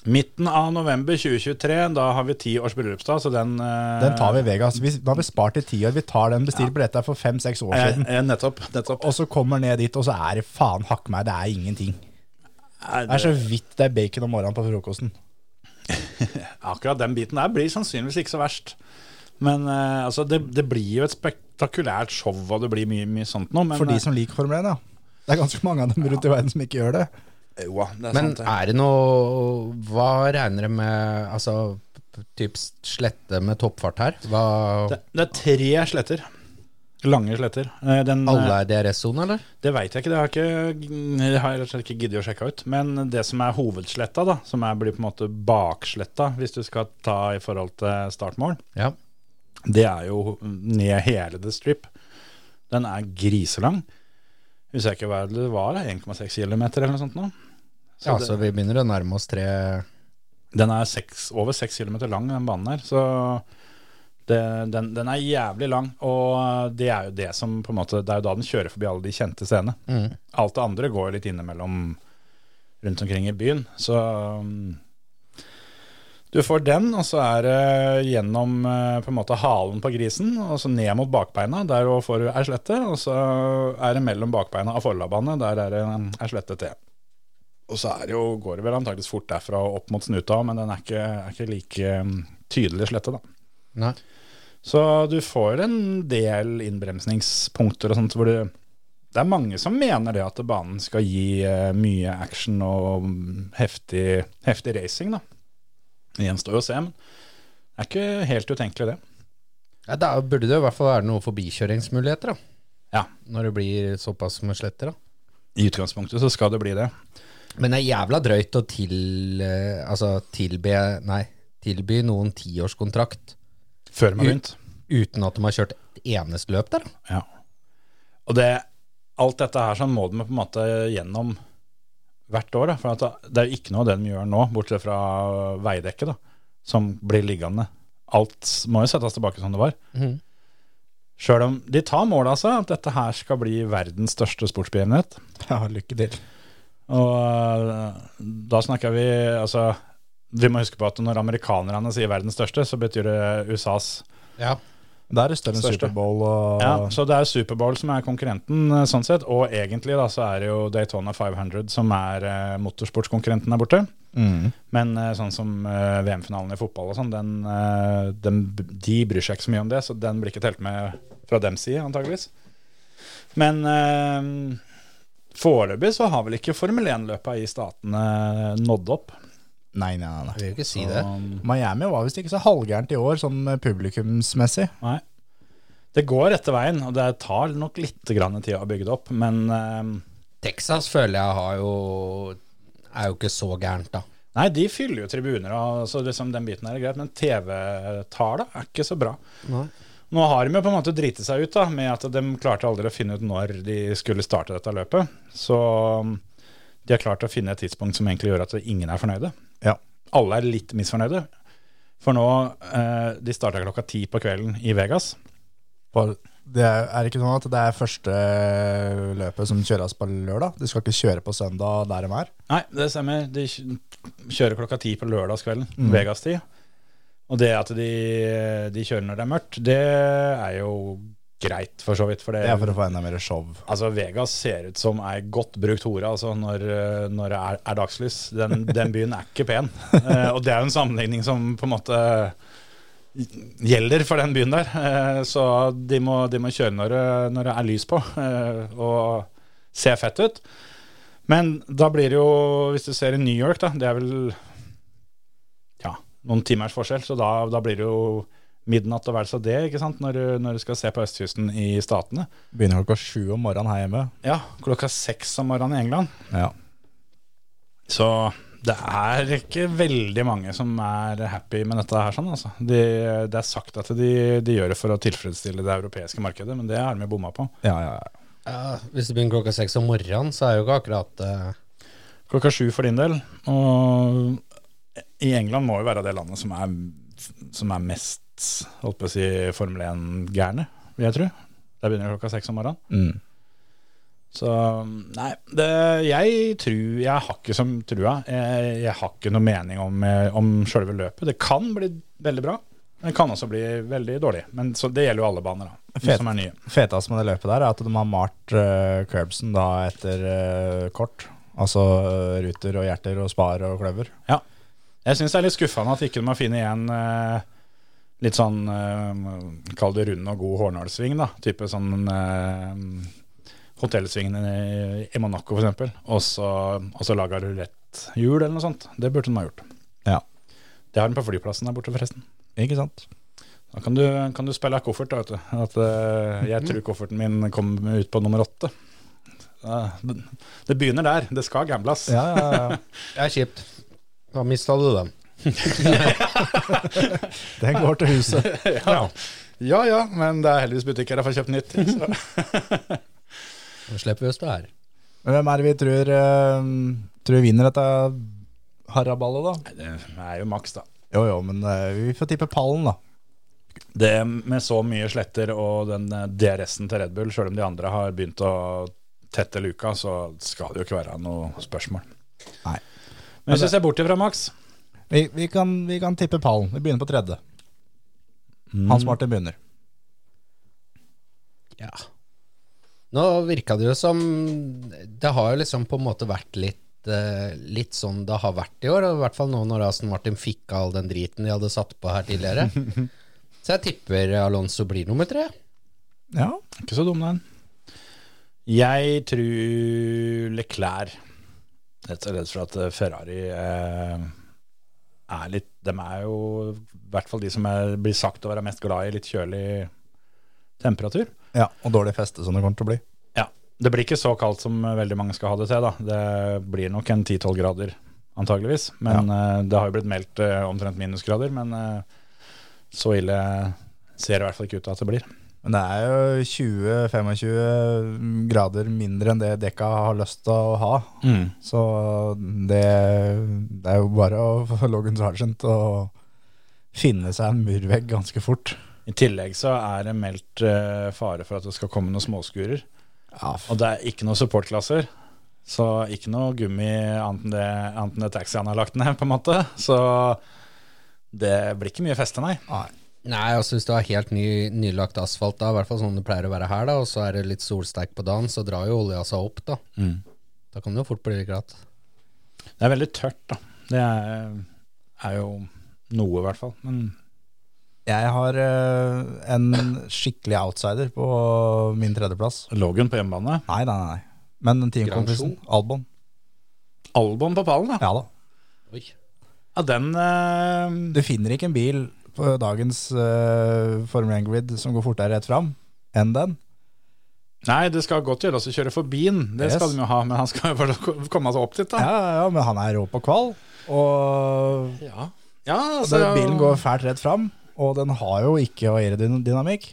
[SPEAKER 3] Midten av november 2023, da har vi ti års bryllupsdag, så den eh,
[SPEAKER 4] Den tar vi i Vegas. Vi, da har vi spart i ti år. Vi tar den bestilt billetter for fem-seks år
[SPEAKER 3] Eh,
[SPEAKER 4] siden.
[SPEAKER 3] eh, nettopp. nettopp.
[SPEAKER 4] Og så kommer ned dit, og så er det faen hakk meg, det er ingenting.
[SPEAKER 3] Nei,
[SPEAKER 4] Det er så vidt det er bacon om morgenen på frokosten.
[SPEAKER 3] akkurat den biten der blir sannsynligvis ikke så verst. Men eh, altså, det, det blir jo et spektakulært show, og det blir mye, mye sånt nå. Men, eh,
[SPEAKER 4] For de som liker Formel 1, ja. Det er ganske mange av dem rundt i verden som ikke gjør det.
[SPEAKER 3] Eh, jo, det er
[SPEAKER 5] Men
[SPEAKER 3] sant, det.
[SPEAKER 5] er det noe Hva regner de med Altså typ slette med toppfart her? Hva,
[SPEAKER 3] det, det er tre sletter. Lange sletter. Eh, Den, eh,
[SPEAKER 5] alle er DRS-sone, eller?
[SPEAKER 3] Det veit jeg ikke, det har jeg ikke, jeg har rett og slett ikke giddet å sjekke ut. Men det som er hovedsletta, da, som er, blir på en måte baksletta hvis du skal ta i forhold til startmål,
[SPEAKER 5] Ja.
[SPEAKER 3] Det er jo ned hele The Strip. Den er griselang. Husker jeg ikke hva det var, da, 1,6 km eller noe sånt nå. Så
[SPEAKER 5] ja
[SPEAKER 3] det-
[SPEAKER 5] så vi begynner å nærme oss tre
[SPEAKER 3] Den er seks, over 6 km lang, den banen her. Så det, den, den er jævlig lang. Og det er jo det som på en måte Det er jo da den kjører forbi alle de kjente scenene. Alt det andre går jo litt innimellom rundt omkring i byen. Så um, Du får den, og så er det gjennom eh, på en måte halen på grisen, og så ned mot bakbeina. Der også får du ei slette, og så er det mellom bakbeina og forlabbene. Der er det en- ei slette til. Og så er det jo, går det vel antakeligvis fort derfra og opp mot snuta, men den er ikke, er ikke like mm, tydelig slette, da.
[SPEAKER 5] Nei.
[SPEAKER 3] Så du får en del innbremsningspunkter og sånt hvor du Det er mange som mener det at banen skal gi eh, mye action og mm, heftig, heftig racing, da. Det gjenstår jo å se, men det er ikke helt utenkelig, det.
[SPEAKER 5] Ja, da burde det jo i hvert fall være noen forbikjøringsmuligheter, da.
[SPEAKER 3] Ja.
[SPEAKER 5] Når det blir såpass med sletter, da.
[SPEAKER 3] I utgangspunktet så skal det bli det.
[SPEAKER 5] Men det er jævla drøyt å til, eh, altså, tilbe, nei, tilby noen tiårskontrakt
[SPEAKER 3] Før man har begynt.
[SPEAKER 5] uten at de har kjørt et eneste løp der. da.
[SPEAKER 3] Ja. Og det, alt dette her sånn må de på en måte gjennom hvert år. Da, for at det er jo ikke noe av det de gjør nå, bortsett fra veidekket, da, som blir liggende. Alt må jo settes tilbake som det var.
[SPEAKER 5] Mhm.
[SPEAKER 3] Sjøl om de tar mål av seg at dette her skal bli verdens største sportsbegivenhet.
[SPEAKER 4] Ja, lykke til.
[SPEAKER 3] Og eh, da snakker vi Altså, vi må huske på at når amerikanerne sier verdens største, så betyr det USAs
[SPEAKER 5] Ja.
[SPEAKER 4] Da er det større enn
[SPEAKER 3] Største.
[SPEAKER 4] Superbowl og
[SPEAKER 3] Ja, så det er Superbowl som er konkurrenten, eh, sånn sett. Og egentlig da, så er det jo Daytona 500 som er eh, motorsportskonkurrenten der borte.
[SPEAKER 4] Mm.
[SPEAKER 3] Men eh, sånn som eh, VM-finalen i fotball og sånn, den, eh, den, de bryr seg ikke så mye om det, så den blir ikke telt med fra dems side, antageligvis. Men eh, foreløpig så har vel ikke Formel 1-løpa i statene nådd opp.
[SPEAKER 4] Nei, nei, nei.
[SPEAKER 5] Jeg vil jo ikke si
[SPEAKER 3] Så,
[SPEAKER 5] det.
[SPEAKER 4] Miami var visst ikke så halvgærent i år, sånn publikumsmessig.
[SPEAKER 3] Nei. Det går rette veien, og det tar nok litt grann tid å bygge det opp, men eh,
[SPEAKER 5] Texas føler jeg har jo er jo ikke så gærent, da.
[SPEAKER 3] Nei, de fyller jo tribuner, og så liksom den biten her er greit, men TV-tallet er ikke så bra. Nå har de jo på en måte driti seg ut da, med at de klarte aldri å finne ut når de skulle starte dette løpet. Så um, de har klart å finne et tidspunkt som egentlig gjør at ingen er fornøyde.
[SPEAKER 4] Ja.
[SPEAKER 3] Alle er litt misfornøyde. For nå, eh, de starta klokka ti på kvelden i Vegas.
[SPEAKER 4] For det er, er det ikke sånn at det er første løpet som kjøres på lørdag? Du skal ikke kjøre på søndag der de er?
[SPEAKER 3] Nei, det stemmer. De kj- kjører klokka ti på lørdagskvelden, Vegas-tid. Og det at de, de kjører når det er mørkt, det er jo greit, for så vidt. For det,
[SPEAKER 4] Det er for å få enda mer show.
[SPEAKER 3] Altså, Vegas ser ut som ei godt brukt hore altså, når, eh, når det er, er dagslys. Den, den byen er ikke pen. Eh, og det er jo en sammenligning som på en måte gjelder for den byen der. Eh, så de må, de må kjøre når det, når det er lys på, eh, og se fett ut. Men da blir det jo, hvis du ser i New York, da, det er vel ja, noen timers forskjell, så da, da blir det jo midnatt og vel så det, ikke sant, når, du- når du skal se på østkysten i statene.
[SPEAKER 4] Begynner klokka sju om morgenen her hjemme.
[SPEAKER 3] Ja, klokka seks om morgenen i England.
[SPEAKER 4] Ja.
[SPEAKER 3] Så det er ikke veldig mange som er happy med dette her. sånn altså. de, Det er sagt at de, de gjør det for å tilfredsstille det europeiske markedet, men det har de jo bomma på.
[SPEAKER 4] Ja, ja, ja.
[SPEAKER 5] Ja, hvis det begynner klokka seks om morgenen, så er jo ikke akkurat eh,
[SPEAKER 3] Klokka sju for din del. Og i England må jo være det landet som er, som er mest holdt på å si, Formel 1-gærne, vil jeg tro. Der begynner klokka seks om morgenen.
[SPEAKER 4] Mm.
[SPEAKER 3] Så nei, det, jeg tror Jeg har ikke som trua. Jeg, jeg har ikke noe mening om, eh, om sjølve løpet. Det kan bli veldig bra. men Det kan også bli veldig dårlig. Men så, det gjelder jo alle baner, da.
[SPEAKER 4] Fet.
[SPEAKER 3] Som er nye.
[SPEAKER 4] Fetest med det løpet der er at de har malt uh, curbsen da etter eh, kort. Altså eh, ruter og hjerter og spar og kløver.
[SPEAKER 3] Jeg syns det er litt skuffende at ikke de har funnet igjen eh, litt sånn eh, Kall det rund og god hårnålsving, da. Type sånn eh, hotellsvingene i, i Monaco, f.eks. Og så og så laga ruletthjul eller noe sånt. Det burde de ha gjort.
[SPEAKER 4] Ja.
[SPEAKER 3] Det har de på flyplassen der borte, forresten.
[SPEAKER 4] Ikke sant?
[SPEAKER 3] Da kan du, kan du spille av koffert, da, vet du. At, eh, jeg tror kofferten min kom ut på nummer åtte. Ja, det- det begynner der. Det skal gamblas.
[SPEAKER 4] Ja, ja, ja.
[SPEAKER 5] Det er kjipt. Da mista du den.
[SPEAKER 4] Den går til huset.
[SPEAKER 3] ja. ja ja, men det er heldigvis butikker jeg får kjøpt nytt. i, Så.
[SPEAKER 5] Nå slipper vi oss det her.
[SPEAKER 4] Men hvem er det vi tror, eh, tror vinner dette haraballet, da?
[SPEAKER 3] Nei, Det er jo maks, da.
[SPEAKER 4] Jo, jo, men eh, vi får tippe pallen, da.
[SPEAKER 3] Det med så mye sletter og den eh, DRS-en til Red Bull, sjøl om de andre har begynt å tette luka, så skal det jo ikke være noe spørsmål.
[SPEAKER 4] Nei.
[SPEAKER 3] Men hvis du ser bort ifra Max
[SPEAKER 4] Vi, vi, kan, vi kan tippe pallen. Vi begynner på tredje. Hans Martin begynner.
[SPEAKER 5] Ja. Nå virka det jo som Det har jo liksom på en måte vært litt eh, Litt sånn det har vært i år, og i hvert fall nå når Aston Martin fikk av all den driten de hadde satt på her tidligere. Så jeg tipper Alonso blir nummer tre.
[SPEAKER 4] Ja,
[SPEAKER 3] Ikke så dum, den. Jeg tror Leclerc. Rett og slett for at eh, Ferrari eh, er litt De er jo i hvert fall de som er, blir sagt å være mest glad i litt kjølig temperatur.
[SPEAKER 4] ja Og dårlig feste som det kommer til å bli.
[SPEAKER 3] Ja. Det blir ikke så kaldt som veldig mange skal ha det til, da. Det blir nok en 10-12 grader, antageligvis. Men eh, det har jo blitt meldt eh, omtrent minusgrader, men eh, så ille ser det i hvert fall ikke ut til at det blir.
[SPEAKER 4] Men det er jo 20-25 grader mindre enn det dekka har lyst til å ha. Så det, det er jo bare å få Logan Sargent å finne seg en murvegg ganske fort.
[SPEAKER 3] I tillegg så er det meldt eh, fare for at det skal komme noen småskurer.
[SPEAKER 4] Ja, f-
[SPEAKER 3] Og det er ikke noen supportklasser. Så ikke noe gummi annet enn det, annet enn det taxiene har lagt ned, på en måte. Så det blir ikke mye feste, nei.
[SPEAKER 4] nei.
[SPEAKER 5] Nei, altså hvis du har helt ny, nylagt asfalt da, i hvert fall sånn det pleier å være her, da, og så er det litt solsterk på dagen, så drar jo olja seg opp, da. Da kan det jo fort bli litt glatt.
[SPEAKER 3] Det er veldig tørt, da. Det er, er jo noe, i hvert fall. Men
[SPEAKER 4] Jeg har eh, en skikkelig outsider på min tredjeplass.
[SPEAKER 3] Logan på hjemmebane.
[SPEAKER 4] Nei, nei, nei. Men den teamkompisen, Albon.
[SPEAKER 3] Albon på pallen, da.
[SPEAKER 4] Ja da.
[SPEAKER 5] Oi.
[SPEAKER 3] Ja, den eh,
[SPEAKER 4] Du finner ikke en bil på dagens eh, Formel 1-grid som går fortere rett fram enn den.
[SPEAKER 3] Nei, det skal godt gjøres å kjøre forbi den. Det
[SPEAKER 4] Yes.
[SPEAKER 3] skal de jo ha, men han skal jo bare ko- komme seg opp dit,
[SPEAKER 4] Ja,
[SPEAKER 3] da.
[SPEAKER 4] ja, ja, men han er rå på kval. Og
[SPEAKER 3] Ja, ja
[SPEAKER 4] altså,
[SPEAKER 3] altså,
[SPEAKER 4] bilen går fælt rett fram, og den har jo ikke aerodynamikk.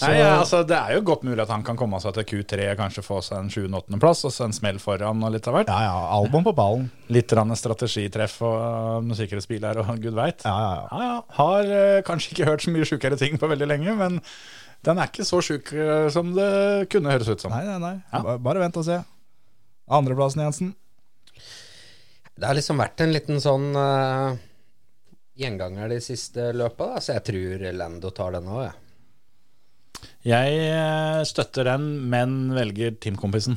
[SPEAKER 4] Så-
[SPEAKER 3] Nei, ja, altså, Det er jo godt mulig at han kan komme seg til Q3 og kanskje få seg en 7.-8. plass, og så en smell foran og litt av hvert.
[SPEAKER 4] Ja, ja, Albon på ballen.
[SPEAKER 3] Litt rann strategitreff og øh, noen sikkerhetsbiler og gud veit.
[SPEAKER 4] Ja, ja, ja.
[SPEAKER 3] Ja, ja. Har eh, kanskje ikke hørt så mye sjukere ting på veldig lenge, men den er ikke så sjuk eh, som det kunne høres ut som.
[SPEAKER 4] Nei, nei, nei.
[SPEAKER 3] Ja.
[SPEAKER 4] Ba- Bare vent og se. Andreplassen, Jensen.
[SPEAKER 5] Det har liksom vært en liten sånn eh, gjenganger de siste løpa, da, så jeg tror Lando tar den òg, jeg.
[SPEAKER 3] Jeg eh, støtter den, men velger teamkompisen.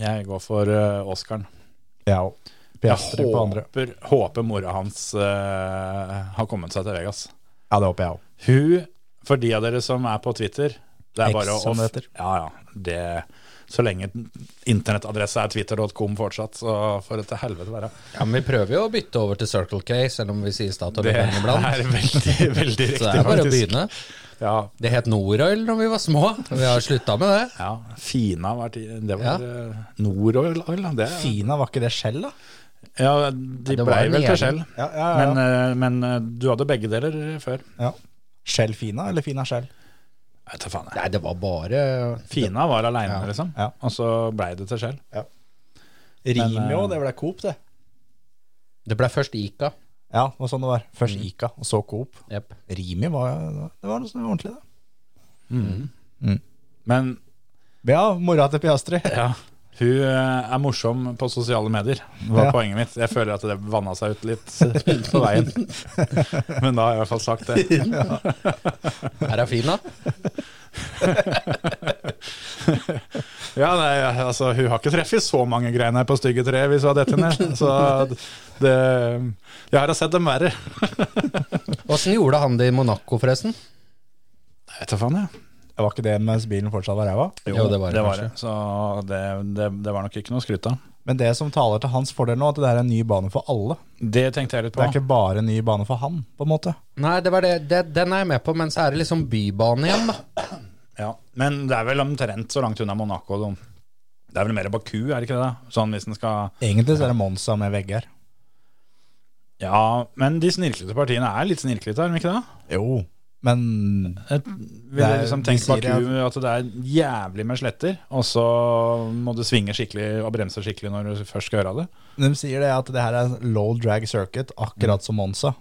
[SPEAKER 3] Jeg går for uh, Oscaren.
[SPEAKER 4] Ja, og Piastri
[SPEAKER 3] Jeg
[SPEAKER 4] på andre.
[SPEAKER 3] håper, håper mora hans eh, har kommet seg til Vegas.
[SPEAKER 4] Ja, det håper jeg òg.
[SPEAKER 3] Hun, for de av dere som er på Twitter Det er
[SPEAKER 4] X,
[SPEAKER 3] bare å
[SPEAKER 4] som det heter.
[SPEAKER 3] Ja, ja. Det, så lenge internettadresse er twitter.com fortsatt, så får det til helvete være.
[SPEAKER 5] Ja, men vi prøver jo å bytte over til Circle K, selv om vi sier Statoil
[SPEAKER 3] Det
[SPEAKER 5] en gang iblant.
[SPEAKER 3] er veldig, veldig riktig,
[SPEAKER 5] Så det er bare å
[SPEAKER 3] faktisk.
[SPEAKER 5] begynne.
[SPEAKER 3] Ja,
[SPEAKER 5] Det het Noroil da vi var små, og vi har slutta med det.
[SPEAKER 3] ja. Fina var ti- Det var eh, Noroil, oil, da. Det, er-
[SPEAKER 4] Fina, var ikke det skjell, da?
[SPEAKER 3] ja, de
[SPEAKER 5] det var
[SPEAKER 3] blei
[SPEAKER 5] en
[SPEAKER 3] vel til
[SPEAKER 5] egen.
[SPEAKER 3] Shell.
[SPEAKER 4] Ja, ja, ja.
[SPEAKER 3] Men, eh, men eh, du hadde begge deler før.
[SPEAKER 4] ja. Skjell Fina, eller Fina Skjell?
[SPEAKER 3] Jeg vet da faen. jeg.
[SPEAKER 5] Nei, det var bare
[SPEAKER 3] Fina var aleine,
[SPEAKER 4] Ja,
[SPEAKER 3] liksom.
[SPEAKER 4] ja.
[SPEAKER 3] Og så blei det til Shell.
[SPEAKER 4] Rimio,
[SPEAKER 3] eh,
[SPEAKER 4] det ble Coop, det.
[SPEAKER 5] Det ble først Ica.
[SPEAKER 4] Ja, det var sånn det var. Først
[SPEAKER 3] Mm.
[SPEAKER 4] Ica, og så Coop.
[SPEAKER 5] Jep.
[SPEAKER 4] Rimi var, det var noe sånn ordentlig, det.
[SPEAKER 3] Men
[SPEAKER 4] Ja, mora til Piastri.
[SPEAKER 3] ja, hun eh, er morsom på sosiale medier, var
[SPEAKER 4] Ja.
[SPEAKER 3] poenget mitt. Jeg føler at det vanna seg ut litt eh, på veien. Men da har jeg i hvert fall sagt det.
[SPEAKER 5] Her er Fina.
[SPEAKER 3] Ja, nei, altså, hun har ikke treffet så mange greiner på stygge tre hvis hun har dette ned. Så det Jeg har sett dem verre.
[SPEAKER 5] Åssen gjorde han det i Monaco, forresten?
[SPEAKER 3] Jeg vet da faen, jeg.
[SPEAKER 4] Det var ikke det mens bilen fortsatt var ræva.
[SPEAKER 5] Jo, det var det
[SPEAKER 3] det. Så det, det, det var nok ikke noe å skryte av.
[SPEAKER 4] Men det som taler til hans fordel nå, at det er en ny bane for alle.
[SPEAKER 3] Det tenkte jeg litt
[SPEAKER 4] Det
[SPEAKER 3] på.
[SPEAKER 4] er ikke bare en ny bane for han, på en måte.
[SPEAKER 5] Nei, det var det. det den er jeg med på, men så er det liksom bybane igjen, da.
[SPEAKER 3] Ja, Men det er vel omtrent så langt unna Monaco. da. Det er vel mer Baku, er det ikke det? da? Sånn hvis den skal
[SPEAKER 4] Egentlig så er det Monza med vegger.
[SPEAKER 3] Ja, men de snirklete partiene er litt snirklete, er de ikke det?
[SPEAKER 4] Jo, men
[SPEAKER 3] Jeg
[SPEAKER 4] Det
[SPEAKER 3] ville
[SPEAKER 4] er-
[SPEAKER 3] liksom
[SPEAKER 4] de
[SPEAKER 3] tenkt
[SPEAKER 4] sier
[SPEAKER 3] Baku at det er jævlig med sletter, og så må du svinge skikkelig og bremse skikkelig når du først skal gjøre det.
[SPEAKER 4] de sier det at det her er low drag circuit, akkurat som Monza.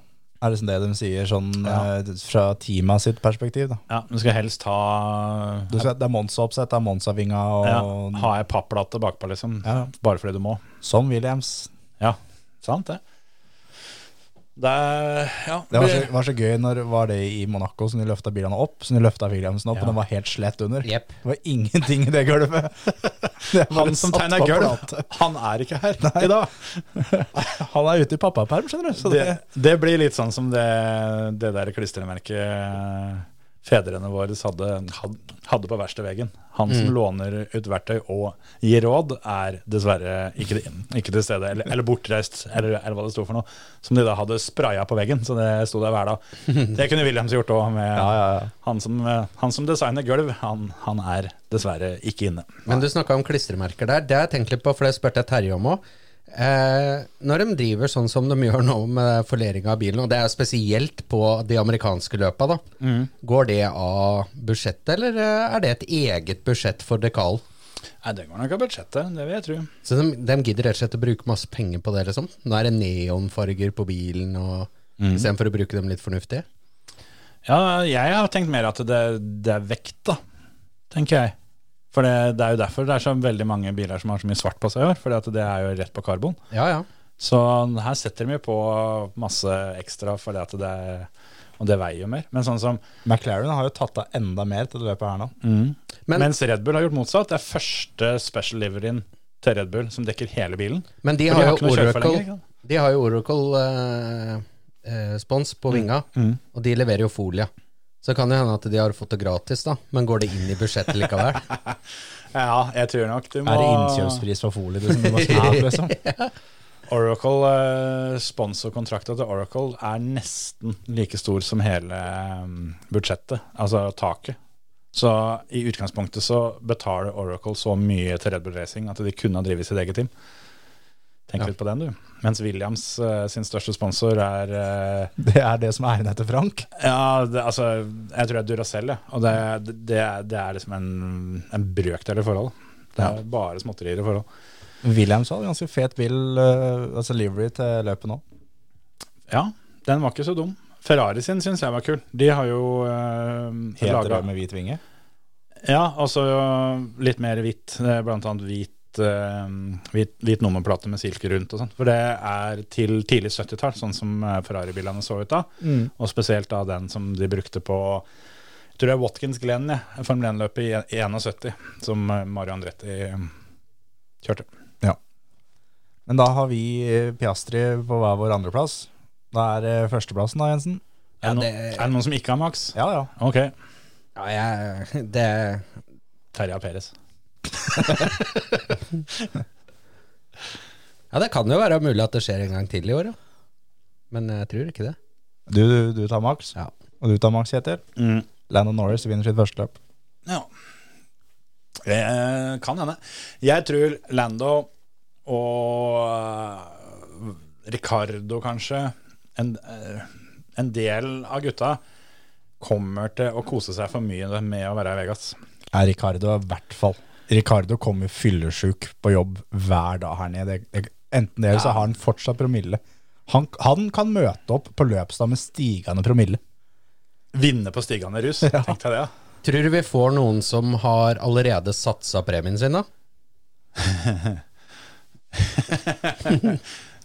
[SPEAKER 4] Er det sånn det de sier sånn
[SPEAKER 3] Ja.
[SPEAKER 4] eh, fra teama sitt perspektiv, da.
[SPEAKER 3] Ja, Du skal helst ha
[SPEAKER 4] Du ser, det er Monza-oppsett, det er Monza-vinga og
[SPEAKER 3] ja, ha ei papplate bakpå, liksom.
[SPEAKER 4] Ja.
[SPEAKER 3] Bare fordi du må.
[SPEAKER 4] Som Williams.
[SPEAKER 3] Ja, sant det. Det er Ja.
[SPEAKER 4] Det var så, var så gøy når var det i Monaco som de løfta bilene opp. Som de løfta Williamsen opp,
[SPEAKER 3] Ja.
[SPEAKER 4] og den var helt slett under.
[SPEAKER 5] Jepp.
[SPEAKER 4] Det var ingenting i det gulvet. Det var
[SPEAKER 3] han
[SPEAKER 4] bare
[SPEAKER 3] som
[SPEAKER 4] satt
[SPEAKER 3] tegner
[SPEAKER 4] på
[SPEAKER 3] gulv,
[SPEAKER 4] plate.
[SPEAKER 3] han er ikke her i dag.
[SPEAKER 4] Han er ute i pappaperm, skjønner du. Så det,
[SPEAKER 3] Det, det blir litt sånn som det, det der klistremerket fedrene våre hadde, had- hadde på verkstedveggen. Han
[SPEAKER 4] Mm.
[SPEAKER 3] som låner ut verktøy og gir råd, er dessverre ikke, ikke til stede, eller, eller bortreist, eller, eller hva det sto for noe. Som de da hadde spraya på veggen, så det sto der hver dag. Det kunne Williams gjort òg, med
[SPEAKER 4] ja, ja.
[SPEAKER 3] Han, som, eh, han som designer gulv. Han, han er dessverre ikke inne.
[SPEAKER 5] Men du snakka om klistremerker der. Det har jeg tenkt litt på, for det spurte jeg Terje om òg. Eh, når de driver sånn som de gjør nå med forleringa av bilen, og det er spesielt på de amerikanske løpa, da. Går det av budsjettet, eller eh, er det et eget budsjett for dekal?
[SPEAKER 3] Nei, det går nok av budsjettet, det vil jeg tro.
[SPEAKER 5] Så de, de gidder rett og slett å bruke masse penger på det, liksom? Nå er det neonfarger på bilen, og istedenfor å bruke dem litt fornuftig?
[SPEAKER 3] Ja, jeg har tenkt mer at det, det er vekt, da, tenker jeg. For det, det er jo derfor det er så veldig mange biler som har så mye svart på seg i år. For det er jo rett på karbon.
[SPEAKER 5] Ja, ja.
[SPEAKER 3] Så her setter de jo på masse ekstra for det at det er Og det veier jo mer. Men sånn som
[SPEAKER 4] McLaren har jo tatt av enda mer til det løpet her nå.
[SPEAKER 5] Men-
[SPEAKER 3] Mm. Mens Red Bull har gjort motsatt. Det er første special liveryen til Red Bull som dekker hele bilen.
[SPEAKER 5] Men de
[SPEAKER 3] For
[SPEAKER 5] har,
[SPEAKER 3] ikke noe
[SPEAKER 5] jo
[SPEAKER 3] kjøreforlenger, ikke
[SPEAKER 5] Oracle,
[SPEAKER 3] sant?
[SPEAKER 5] de har jo Oracle eh, eh, spons på vinga, og de leverer jo folie. Så kan det hende at de har fått det gratis, da, men går det inn i budsjettet likevel?
[SPEAKER 3] Ja, jeg tror nok du må
[SPEAKER 4] Er det innkjøpspris for folie? Du, som du må kjøpe, liksom?
[SPEAKER 3] Oracle, eh, sponsorkontrakta til Oracle er nesten like stor som hele mm, budsjettet, altså taket. Så i utgangspunktet så betaler Oracle så mye til Red Bull Racing at de kunne ha drevet sitt eget team. Tenk
[SPEAKER 5] Ja.
[SPEAKER 3] litt på den, du. Mens Williams eh, sin største sponsor er eh,
[SPEAKER 4] Det er det som er æren etter Frank.
[SPEAKER 3] Ja, det, altså Jeg tror det er Duracell, ja. Og det, det, er- det er liksom en, en brøkdel i forhold. Det er bare småtterier i forhold.
[SPEAKER 4] Williams hadde ganske fet bil, eh, altså livery, til løpet nå.
[SPEAKER 3] Ja, den var ikke så dum. Ferrari sin syns jeg var kul. De har jo øh,
[SPEAKER 4] Helt
[SPEAKER 3] laget-
[SPEAKER 4] rød med hvit vinge.
[SPEAKER 3] Ja, altså litt mer hvitt. Det er Blant annet hvit, eh, hvit, hvit nummerplate med silke rundt og sånn. For det er til tidlig 70-tall, sånn som eh, Ferrari-bilene så ut da. Og spesielt da den som de brukte på jeg tror det er Watkins Glenn, ja, Formel 1-løpet i- i 71, som eh, Mario Andretti eh, kjørte.
[SPEAKER 4] Men da har vi eh, Piastri på hver vår andreplass. Da er det førsteplassen da, Jensen.
[SPEAKER 3] Er det, noen,
[SPEAKER 5] det-
[SPEAKER 3] er det noen som ikke har Max?
[SPEAKER 4] Ja, ja.
[SPEAKER 3] Ok,
[SPEAKER 5] Ja, jeg, det,
[SPEAKER 3] Terje Peres.
[SPEAKER 5] ja, det kan jo være mulig at det skjer en gang til i år, ja. Men jeg tror ikke det.
[SPEAKER 4] Du, du, du tar Max,
[SPEAKER 5] Ja.
[SPEAKER 4] og du tar Max, Kjetil.
[SPEAKER 3] Mm.
[SPEAKER 4] Landon Norris vinner sitt første løp.
[SPEAKER 3] Ja. Eh, kan hende. Jeg tror Lando og eh, Ricardo, kanskje, en, eh, en del av gutta kommer til å kose seg for mye med å være i Vegas.
[SPEAKER 4] Ja, Ricardo i hvert fall. Ricardo kommer fyllesjuk på jobb hver dag her nede. Det- det- Enten det eller så har han fortsatt promille. Han, han kan møte opp på løpsdag med stigende promille.
[SPEAKER 3] Vinne på stigende rus, tenkte jeg det. ja.
[SPEAKER 5] Tror du vi får noen som har allerede satsa premien sin, da?
[SPEAKER 3] Det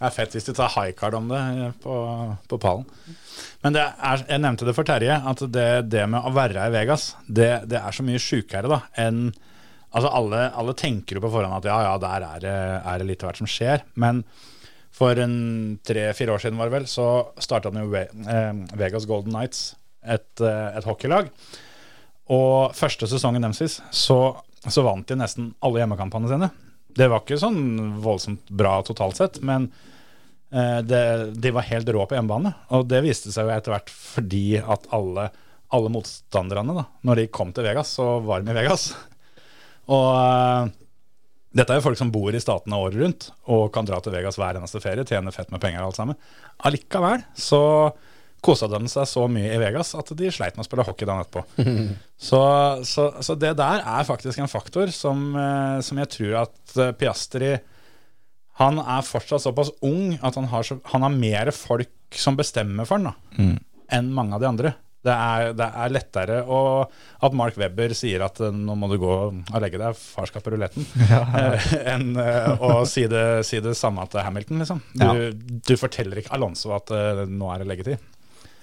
[SPEAKER 3] er fett hvis de tar high card om det eh, på, på pallen. Men det er, jeg nevnte det for Terje, at det, det med å være i Vegas, det, det er så mye sjukere da, enn Altså alle, alle tenker jo på forhånd at ja, ja, der er det, er det litt av hvert som skjer. Men for en tre-fire år siden var det vel, så starta jo Ve- eh, Vegas Golden Nights, et, eh, et hockeylag. Og første sesongen deres så, så vant de nesten alle hjemmekampene sine. Det var ikke sånn voldsomt bra totalt sett, men eh, det, de var helt rå på hjemmebane. Og det viste seg jo etter hvert fordi at alle, alle motstanderne, da, når de kom til Vegas, så var de i Vegas. Og eh, dette er jo folk som bor i statene året rundt og kan dra til Vegas hver eneste ferie, tjene fett med penger og alt sammen. Allikevel så kosa de seg så mye i Vegas at de sleit med å spille hockey dagen etterpå. så, så, så det der er faktisk en faktor som, eh, som jeg tror at eh, Piastri Han er fortsatt såpass ung at han har, så, han har mer folk som bestemmer for han da, enn mange av de andre. Det Det er, det er lettere å, at Mark Webber sier at eh, nå må du gå og legge deg, far skal på ruletten, eh, enn eh, å si det, si det samme til Hamilton, liksom. Du,
[SPEAKER 4] Ja.
[SPEAKER 3] du forteller ikke Alonso at eh, nå er det leggetid.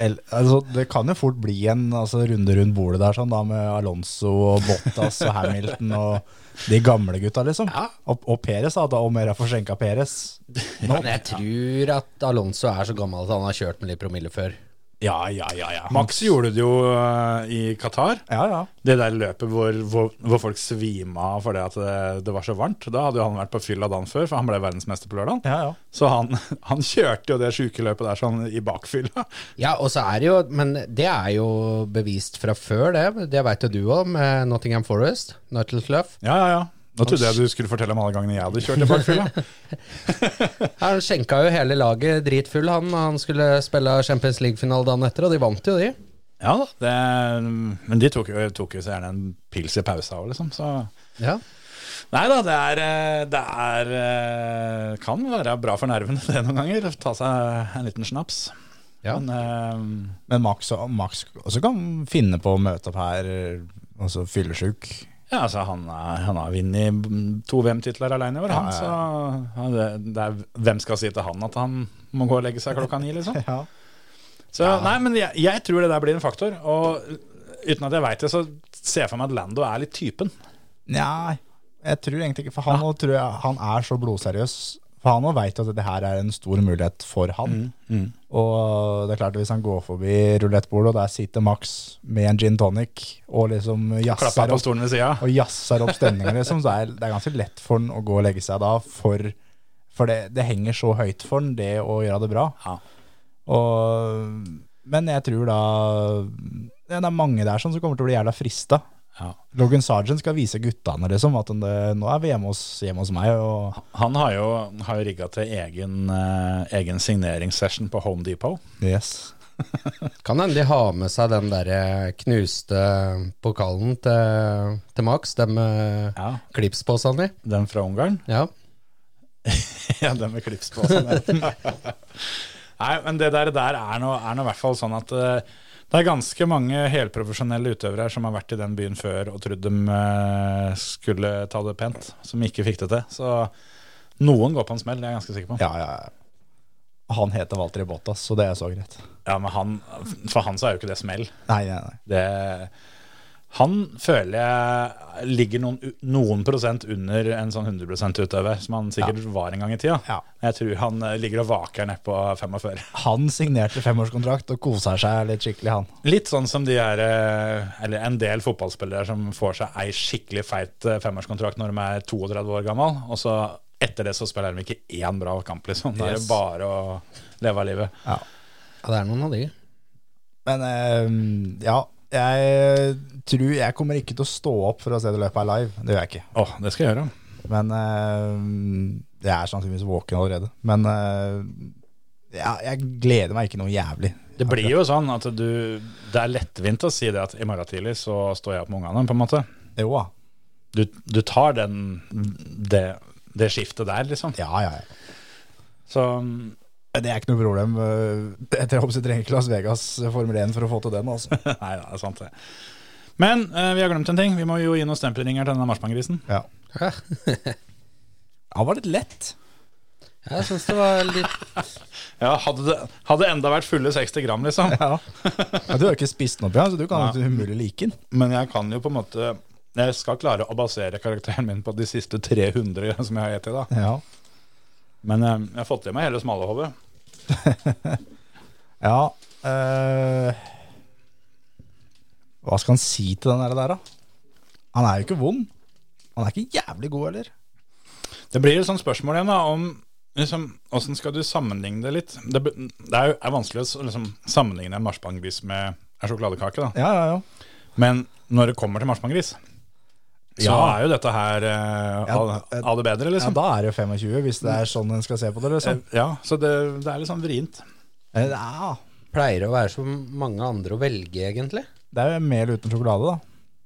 [SPEAKER 4] El, altså, det kan jo fort bli en altså, runde rundt bordet der, sånn da, med Alonso og Bottas og Hamilton og de gamle gutta, liksom.
[SPEAKER 3] Ja.
[SPEAKER 4] Og, og Peres, da, da Omera forsenka Peres.
[SPEAKER 5] Ja, Men jeg tror at Alonso er så gammel at han har kjørt med litt promille før.
[SPEAKER 4] Ja, ja, ja, ja.
[SPEAKER 3] Max gjorde det jo eh, i Qatar.
[SPEAKER 4] Ja, ja.
[SPEAKER 3] Det der løpet hvor, hvor, hvor folk svima av fordi at det, det var så varmt. Da hadde jo han vært på fylla dagen før, for han ble verdensmester på lørdag.
[SPEAKER 4] ja, ja.
[SPEAKER 3] Så han, han kjørte jo det sjuke løpet der sånn i bakfylla.
[SPEAKER 5] Ja, og så er det jo Men det er jo bevist fra før, det. Det veit jo du òg, med Nottingham Forest, Nuttall Cluff.
[SPEAKER 3] Ja, ja, ja. Da trodde jeg du skulle fortelle om alle gangene jeg hadde kjørt i bakfylla.
[SPEAKER 5] Han skjenka jo hele laget dritfull, han. Han skulle spille Champions League-finale dagen etter, og de vant jo, de.
[SPEAKER 3] Ja da. Det, men de tok jo, tok jo så gjerne en pils i pausa òg, liksom. Så
[SPEAKER 5] Ja.
[SPEAKER 3] Nei da, det er, eh, det er eh, Kan være bra for nervene det noen ganger. Ta seg en liten snaps.
[SPEAKER 5] Ja.
[SPEAKER 3] Men eh,
[SPEAKER 4] Men Max, og- Max også kan finne på å møte opp her, altså fyllesjuk.
[SPEAKER 3] Ja, altså Han, er, han har vunnet to VM-titler alene i år, han.
[SPEAKER 4] Ja,
[SPEAKER 3] Så
[SPEAKER 4] ja,
[SPEAKER 3] ja, det, det er, hvem skal si til han at han må gå og legge seg klokka ni, liksom?
[SPEAKER 4] Ja.
[SPEAKER 3] Så nei, men jeg, jeg tror det der blir en faktor. Og uten at jeg veit det, så ser jeg for meg at Lando er litt typen.
[SPEAKER 4] Nei, jeg tror egentlig ikke For han, nå tror jeg, han er så blodseriøs. For han òg veit at det her er en stor mulighet for han.
[SPEAKER 3] Mm,
[SPEAKER 4] Og det er klart at hvis han går forbi rulettbordet, og der sitter Max med en gin tonic og liksom
[SPEAKER 3] Klapper
[SPEAKER 4] jazzer
[SPEAKER 3] på
[SPEAKER 4] opp,
[SPEAKER 3] stolen ved sida.
[SPEAKER 4] og jazzer opp stemninga, liksom, så er det er ganske lett for han å gå og legge seg da. For, for det, det henger så høyt for han, det å gjøre det bra.
[SPEAKER 3] Ja.
[SPEAKER 4] Og, men jeg tror da ja, Det er mange der som kommer til å bli jævla frista.
[SPEAKER 3] Ja.
[SPEAKER 4] Logan Sargent skal vise guttene liksom, at det, nå er vi hjemme hos, hjemme hos meg. Og,
[SPEAKER 3] Han har jo, har jo rigga til egen, eh, egen signeringssession på Home Depot.
[SPEAKER 4] yes.
[SPEAKER 5] Kan hende de har med seg den derre knuste pokalen til, til Max, eh, den med
[SPEAKER 3] Ja.
[SPEAKER 5] klipsposene i.
[SPEAKER 3] Den fra Ungarn.
[SPEAKER 5] Ja.
[SPEAKER 3] Ja, den med klips på. Sånn der. Nei, men det der, der er nå er nå i hvert fall sånn at eh, det er ganske mange helprofesjonelle utøvere her som har vært i den byen før og trodd de eh, skulle ta det pent, som ikke fikk det til. Så noen går på en smell, det er jeg ganske sikker på.
[SPEAKER 4] Ja, ja, ja. Han heter Walter Bottas, så det er så greit.
[SPEAKER 3] Ja, men han, For han så er jo ikke det smell.
[SPEAKER 4] Nei, nei, nei.
[SPEAKER 3] Det, han føler jeg ligger noen, noen prosent under en sånn 100 %-utøver, som han sikkert var en gang i tida.
[SPEAKER 4] Ja.
[SPEAKER 3] Jeg tror han eh, ligger og vaker nedpå 45.
[SPEAKER 4] Han signerte femårskontrakt og koser seg litt skikkelig, han.
[SPEAKER 3] Litt sånn som de er, eh, eller en del fotballspillere som får seg ei skikkelig feit eh, femårskontrakt når de er 32 år gammel, og så etter det så spiller de ikke én bra kamp, liksom. Da er det
[SPEAKER 4] Yes.
[SPEAKER 3] bare å leve av livet.
[SPEAKER 5] ja, det er noen av de.
[SPEAKER 4] Men eh, ja, jeg tror jeg kommer ikke til å stå opp for å se det løpet her live. Det gjør jeg ikke.
[SPEAKER 3] Å, det skal jeg gjøre.
[SPEAKER 4] Men eh, jeg er sannsynligvis våken allerede. Men eh, ja, jeg gleder meg ikke noe jævlig.
[SPEAKER 3] Det blir jo sånn at du Det er lettvint å si det at i morgen tidlig så står jeg opp med ungene, på en måte.
[SPEAKER 4] Jo da.
[SPEAKER 3] Du, du tar den det, det skiftet der, liksom.
[SPEAKER 4] Ja, ja, ja.
[SPEAKER 3] Så
[SPEAKER 4] Det er ikke noe problem. eh, Etter jeg håper jeg trenger ikke Las Vegas eh, Formel 1 for å få til den. altså.
[SPEAKER 3] Nei da, det er sant, det. Men eh, vi har glemt en ting. Vi må jo gi noen stempelringer til denne marsipangrisen.
[SPEAKER 4] Ja.
[SPEAKER 5] Ja.
[SPEAKER 4] Han var litt lett.
[SPEAKER 5] Jeg syns det var litt
[SPEAKER 3] Ja, hadde det hadde enda vært fulle 60 gram, liksom.
[SPEAKER 4] Ja. Ja, du har jo ikke spist den opp igjen, så du kan jo umulig like den.
[SPEAKER 3] Men jeg kan jo på en måte Jeg skal klare å basere karakteren min på de siste 300 som jeg har gitt i dag.
[SPEAKER 4] Ja.
[SPEAKER 3] Men eh, jeg har fått i meg hele smalahovet.
[SPEAKER 4] ja eh, hva skal han si til den der, der, da? Han er jo ikke vond. Han er ikke jævlig god heller.
[SPEAKER 3] Det blir et sånt spørsmål igjen da, om liksom, hvordan skal du sammenligne det litt? Det, be- det er jo er vanskelig å s- liksom, sammenligne en marsipangris med en sjokoladekake, da.
[SPEAKER 4] Ja, ja, ja.
[SPEAKER 3] Men når det kommer til marsipangris, så
[SPEAKER 4] Ja.
[SPEAKER 3] er jo dette her eh,
[SPEAKER 4] Ja,
[SPEAKER 3] av-
[SPEAKER 4] eh,
[SPEAKER 3] av det bedre,
[SPEAKER 4] Ja,
[SPEAKER 3] liksom.
[SPEAKER 4] Da er det jo 25, hvis det er sånn en skal se på det.
[SPEAKER 3] Eh,
[SPEAKER 4] liksom.
[SPEAKER 3] Ja, så det, det er litt sånn vrient.
[SPEAKER 4] Eh, Ja,
[SPEAKER 5] Pleier å være så mange andre å velge, egentlig.
[SPEAKER 4] Det er jo mel uten sjokolade, da.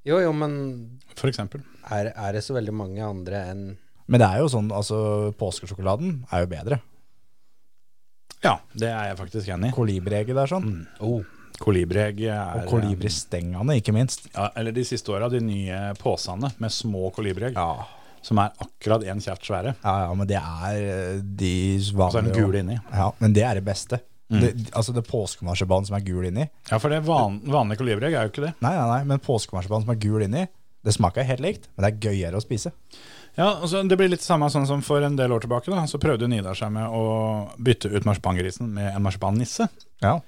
[SPEAKER 5] Jo, jo, men
[SPEAKER 3] For eksempel.
[SPEAKER 5] er, er det så veldig mange andre enn
[SPEAKER 4] Men det er jo sånn, altså, påskesjokoladen er jo bedre.
[SPEAKER 3] Ja, det er jeg faktisk enig i.
[SPEAKER 4] Kolibriegget der, sånn.
[SPEAKER 5] Oh,
[SPEAKER 3] Kolibriegg Mm, er
[SPEAKER 4] Og kolibristengene, ikke minst.
[SPEAKER 3] Ja, eller de siste åra, de nye posene med små kolibriegg.
[SPEAKER 4] Ja.
[SPEAKER 3] Som er akkurat én kjeft svære.
[SPEAKER 4] Ja, ja, men det er eh, de
[SPEAKER 3] Og så er
[SPEAKER 4] vanlige
[SPEAKER 3] den gul Mm. inni.
[SPEAKER 4] Ja, men det er det beste. Det, altså det er påskemarsipan som er gul inni.
[SPEAKER 3] Ja, for det van, vanlige kolibriegg er jo ikke det.
[SPEAKER 4] Nei, nei, nei, men påskemarsipan som er gul inni, det smaker helt likt, men det er gøyere å spise.
[SPEAKER 3] Ja, altså, Det blir litt samme sånn som for en del år tilbake. da, Så prøvde Nidar seg med å bytte ut marsipangrisen med en marsipannisse.
[SPEAKER 4] Ja.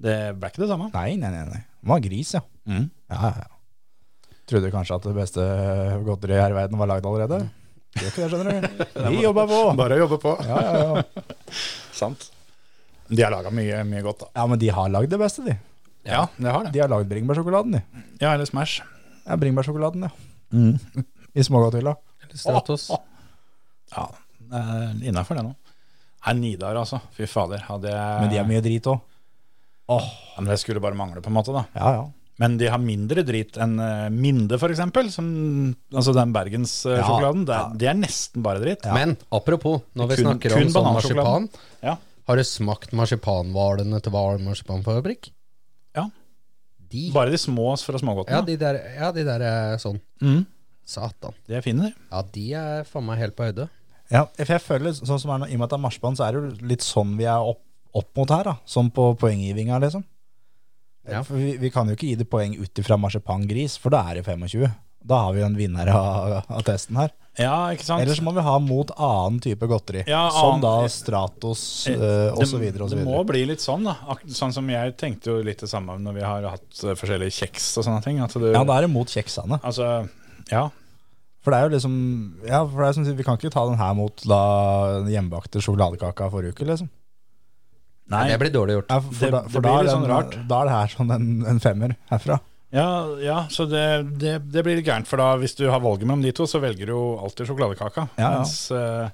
[SPEAKER 3] Det ble ikke det samme.
[SPEAKER 4] Nei, nei, nei. nei. Den var gris, ja.
[SPEAKER 3] Mm.
[SPEAKER 4] Ja, ja, ja. Trodde kanskje at det beste godteriet her i verden var lagd allerede. Gjør ikke det, skjønner du. Vi jobber på!
[SPEAKER 3] Bare å jobbe på.
[SPEAKER 4] Ja, ja, ja.
[SPEAKER 3] Sant. De har laga mye, mye godt, da.
[SPEAKER 4] ja, men de har lagd det beste, de.
[SPEAKER 3] Ja, det har det.
[SPEAKER 4] De har lagd bringebærsjokoladen, de.
[SPEAKER 3] Ja, eller Smash.
[SPEAKER 4] Ja, bringebærsjokoladen, ja. I smågodthylla.
[SPEAKER 5] Stratos.
[SPEAKER 3] Ja, innafor det nå. Nei, Nidar, altså. Fy fader. Hadde jeg
[SPEAKER 4] Men de er mye drit òg.
[SPEAKER 3] Ja, men Det skulle bare mangle, på en måte. da
[SPEAKER 4] Ja, ja.
[SPEAKER 3] Men de har mindre drit enn eh, Minde, f.eks. Altså den bergenssjokoladen.
[SPEAKER 4] Ja,
[SPEAKER 3] Det, er- det er nesten bare drit.
[SPEAKER 5] Men apropos, når vi
[SPEAKER 3] Kun-
[SPEAKER 5] snakker
[SPEAKER 3] kun
[SPEAKER 5] om sånn
[SPEAKER 3] banansjokolade.
[SPEAKER 5] marsipan
[SPEAKER 3] Ja.
[SPEAKER 5] Har du smakt marsipanhvalene til Hval marsipanfabrikk?
[SPEAKER 3] Ja.
[SPEAKER 5] De,
[SPEAKER 3] Bare de små fra
[SPEAKER 5] ja,
[SPEAKER 3] smågodtene.
[SPEAKER 5] de der, ja, de der er sånn.
[SPEAKER 3] Mm.
[SPEAKER 5] Satan.
[SPEAKER 3] de er fine, de.
[SPEAKER 5] Ja, de er faen meg helt på høyde.
[SPEAKER 4] Ja, for jeg føler sånn som er nå, I og med at det er marsipan, så er det jo litt sånn vi er opp, opp mot her. da Sånn på poenggivinga, liksom.
[SPEAKER 5] Ja.
[SPEAKER 4] For vi, vi kan jo ikke gi det poeng ut ifra marsipangris, for da er det 25. Da har vi jo en vinner av, av testen her.
[SPEAKER 3] Ja, ikke sant?
[SPEAKER 4] Ellers må vi ha mot annen type godteri.
[SPEAKER 3] Ja,
[SPEAKER 4] som
[SPEAKER 3] annen-
[SPEAKER 4] da Stratos
[SPEAKER 3] Eh,
[SPEAKER 4] eh,
[SPEAKER 3] det-
[SPEAKER 4] osv.
[SPEAKER 3] Det må
[SPEAKER 4] videre
[SPEAKER 3] bli litt sånn, da. Ak sånn som jeg tenkte jo litt det samme når vi har hatt eh, forskjellige kjeks og sånne ting. At du,
[SPEAKER 4] Ja, da er det mot kjeksene.
[SPEAKER 3] Altså, ja.
[SPEAKER 4] For det er jo liksom Ja, for det er som sagt, vi kan ikke ta den her mot da den hjemmebakte sjokoladekaka forrige uke, liksom.
[SPEAKER 3] Nei,
[SPEAKER 5] Det blir dårlig gjort.
[SPEAKER 4] Ja, for
[SPEAKER 3] Det-
[SPEAKER 4] da,
[SPEAKER 3] det
[SPEAKER 4] for
[SPEAKER 3] blir
[SPEAKER 4] da, er
[SPEAKER 3] litt
[SPEAKER 4] den,
[SPEAKER 3] sånn rart.
[SPEAKER 4] da er det her sånn en, en femmer herfra.
[SPEAKER 3] Ja, ja så det, det, det blir litt gærent. For da, hvis du har valget mellom de to, så velger du jo alltid sjokoladekaka.
[SPEAKER 4] Ja, ja.
[SPEAKER 3] Mens, eh,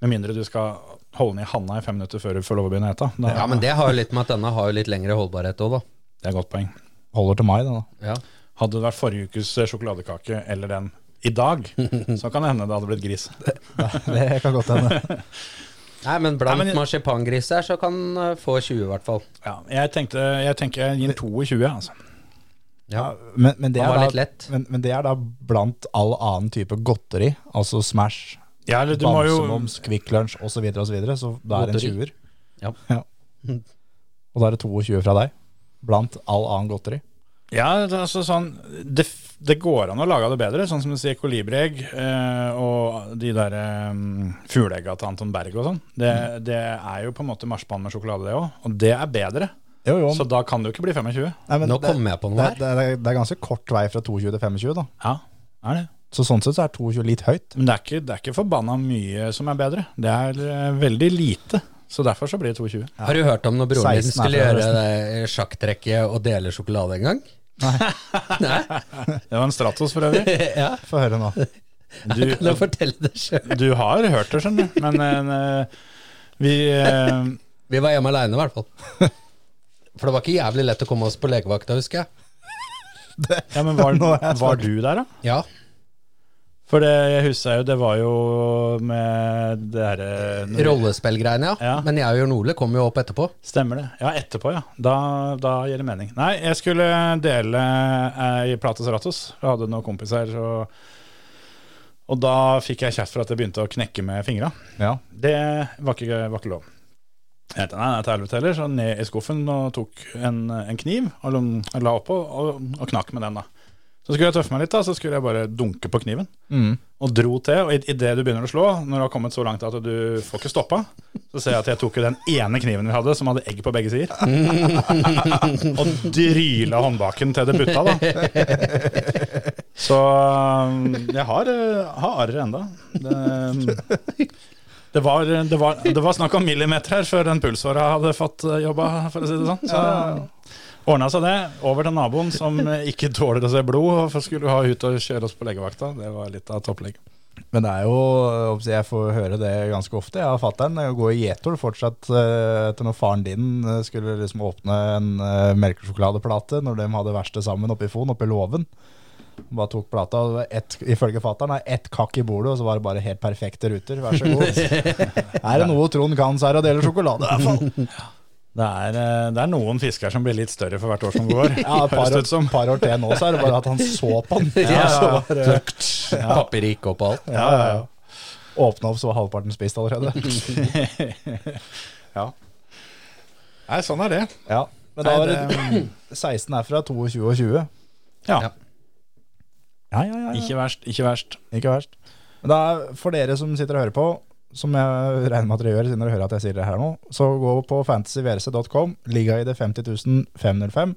[SPEAKER 3] med mindre du skal holde ned handa i fem minutter før du får lov å begynne å ete. Da-
[SPEAKER 5] Ja, men det har jo litt med at denne har jo litt lengre holdbarhet òg, da.
[SPEAKER 3] Det er et godt poeng.
[SPEAKER 4] Holder til mai, den da.
[SPEAKER 5] Ja.
[SPEAKER 3] Hadde det vært forrige ukes eh, sjokoladekake eller den i dag, så kan det hende det hadde blitt gris.
[SPEAKER 4] Det kan godt hende.
[SPEAKER 5] Nei, men blant
[SPEAKER 3] Nei, men-
[SPEAKER 5] marsipangriser så kan eh, få 20 i hvert fall.
[SPEAKER 3] Ja, jeg, tenkte, jeg tenker jeg gir 22, altså.
[SPEAKER 5] Ja.
[SPEAKER 4] Men, men, det
[SPEAKER 5] Han
[SPEAKER 4] er
[SPEAKER 5] var
[SPEAKER 4] da,
[SPEAKER 5] litt lett.
[SPEAKER 4] men, men det er da blant all annen type godteri, altså Smash,
[SPEAKER 3] Ja, eller du må jo
[SPEAKER 4] Bamsemoms, Kvikk Lunsj osv., så, videre, og så, videre, så da er det en
[SPEAKER 5] Godteri.
[SPEAKER 4] 20-er.
[SPEAKER 5] Ja.
[SPEAKER 4] Og da er det 22 fra deg. Blant all annen godteri.
[SPEAKER 3] Ja, det, er altså sånn, det, f- det går an å lage det bedre, sånn som du sier kolibriegg eh, og de der eh, fugleegga til Anton Berg og sånn. Det, det er jo på en måte marsipan med sjokolade, det òg, og det er bedre.
[SPEAKER 4] Jo, jo.
[SPEAKER 3] Så da kan det jo ikke bli 25.
[SPEAKER 4] nei, men
[SPEAKER 5] Nå
[SPEAKER 4] det-
[SPEAKER 5] kommer jeg på noe
[SPEAKER 4] det,
[SPEAKER 5] her.
[SPEAKER 4] det, det, det er ganske kort vei fra 22 til 25, da.
[SPEAKER 3] Ja, er det.
[SPEAKER 4] Så sånn sett så er 22 litt høyt.
[SPEAKER 3] Men det er ikke, det er ikke forbanna mye som er bedre. Det er eh, veldig lite. Så derfor så blir det 22.
[SPEAKER 5] Har du hørt om når broren din
[SPEAKER 4] 16 er
[SPEAKER 5] skulle
[SPEAKER 4] fra
[SPEAKER 5] gjøre det sjakktrekket og dele sjokolade en gang? Nei.
[SPEAKER 3] Det var en Stratos for øvrig.
[SPEAKER 5] ja,
[SPEAKER 4] Få høre nå.
[SPEAKER 3] Du,
[SPEAKER 5] kan du fortelle det sjøl?
[SPEAKER 3] du har hørt det, skjønner du. Men eh, vi eh,
[SPEAKER 5] Vi var hjemme aleine, i hvert fall. For det var ikke jævlig lett å komme oss på legevakta, husker jeg.
[SPEAKER 3] Ja, men var,
[SPEAKER 4] Nå er jeg
[SPEAKER 3] var du der, da?
[SPEAKER 5] Ja,
[SPEAKER 3] For det jeg husker jo, det var jo med det herre
[SPEAKER 5] Rollespillgreiene, ja.
[SPEAKER 3] Ja.
[SPEAKER 5] Men jeg og Jørn Ole kom jo opp etterpå.
[SPEAKER 3] Stemmer det. Ja, etterpå, ja. Da, da gir det mening. Nei, jeg skulle dele eh, ei plate Stratos. Jeg hadde noen kompiser, og, og da fikk jeg kjeft for at jeg begynte å knekke med fingra.
[SPEAKER 4] Ja.
[SPEAKER 3] Det var ikke, var ikke lov. Jeg tenkte, nei, nei, til helvete heller, så ned i skuffen og tok en, en kniv og la- la oppå og, og knakk med den, da. Så skulle jeg tøffe meg litt, da, så skulle jeg bare dunke på kniven.
[SPEAKER 4] Mm.
[SPEAKER 3] og dro til. Og idet du begynner å slå, når du har kommet så langt at du får ikke stoppa, så ser jeg at jeg tok jo den ene kniven vi hadde, som hadde egg på begge sider, og dryla håndbaken til det butta, da. Så um, jeg har, eh, har arr enda. Det, um, det, var, det, var, det var snakk om millimeter her før den pulsåra hadde fått eh, jobba, for å si det sånn. Så ordna seg det. Over til naboen som eh, ikke tåler å se blod, og skulle ha ut og kjøre oss på legevakta. Det var litt av et opplegg.
[SPEAKER 4] Men det er jo øh, Jeg får høre det ganske ofte. Jeg og fatter'n går i gjetord fortsatt øh, etter når faren din øh, skulle liksom åpne en øh, melkesjokoladeplate når de hadde verksted sammen oppe i Fon, oppe i låven. Bare tok plata, og det var ett, ifølge fatter'n er ett kakk i bordet, og så var det bare helt perfekte ruter. Vær så god. er det noe Trond kan, så er det å dele sjokolade, i hvert fall.
[SPEAKER 3] Det er, eh, det er noen fisker som blir litt større for hvert år som går.
[SPEAKER 4] Ja, et par,
[SPEAKER 3] høres det ut som.
[SPEAKER 4] år- par år til nå, så er det bare at han så på den.
[SPEAKER 5] Ja,
[SPEAKER 4] så
[SPEAKER 5] ja.
[SPEAKER 4] var det-
[SPEAKER 5] Papir gikk opp og alt.
[SPEAKER 4] ja, ja, ja. Åpna opp, så var halvparten spist allerede.
[SPEAKER 3] Ja. Nei, sånn er det.
[SPEAKER 4] Ja. Men da
[SPEAKER 3] Nei,
[SPEAKER 4] var det 16 herfra, 22 og 20.
[SPEAKER 3] Ja.
[SPEAKER 5] Ja.
[SPEAKER 4] Ja, ja, ja, ja.
[SPEAKER 3] Ikke verst, ikke verst.
[SPEAKER 4] Ikke verst. Men da, er- for dere som sitter og hører på, som jeg regner med at dere gjør siden dere hører at jeg sier det her nå, så gå på fantasyvrc.com, ligga i det 50505,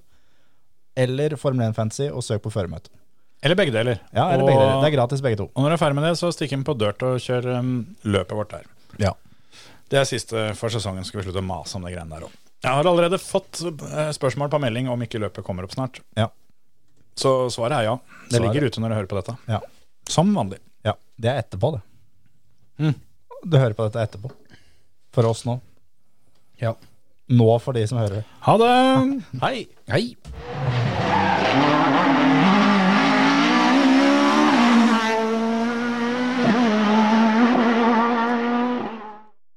[SPEAKER 4] eller Formel 1 Fantasy, og søk på føremøte.
[SPEAKER 3] Eller begge deler.
[SPEAKER 4] Ja, eller
[SPEAKER 3] og,
[SPEAKER 4] begge dere. Det er gratis begge to.
[SPEAKER 3] og når du er ferdig med det, så stikk inn på dirt og kjør um, løpet vårt der.
[SPEAKER 4] Ja.
[SPEAKER 3] Det er siste for sesongen. Skal vi slutte å mase om de greiene der òg. Jeg har allerede fått eh, spørsmål på melding om ikke løpet kommer opp snart.
[SPEAKER 4] Ja.
[SPEAKER 3] Så svaret er ja. Det
[SPEAKER 4] Svaret-
[SPEAKER 3] ligger ute når du hører på dette.
[SPEAKER 4] Ja.
[SPEAKER 3] Som vanlig.
[SPEAKER 4] ja. Det er etterpå, det.
[SPEAKER 3] Mm.
[SPEAKER 4] Du hører på dette etterpå. For oss nå.
[SPEAKER 5] Ja.
[SPEAKER 4] Nå for de som hører det.
[SPEAKER 3] Ha det! Hei!
[SPEAKER 5] Hei.
[SPEAKER 1] Racing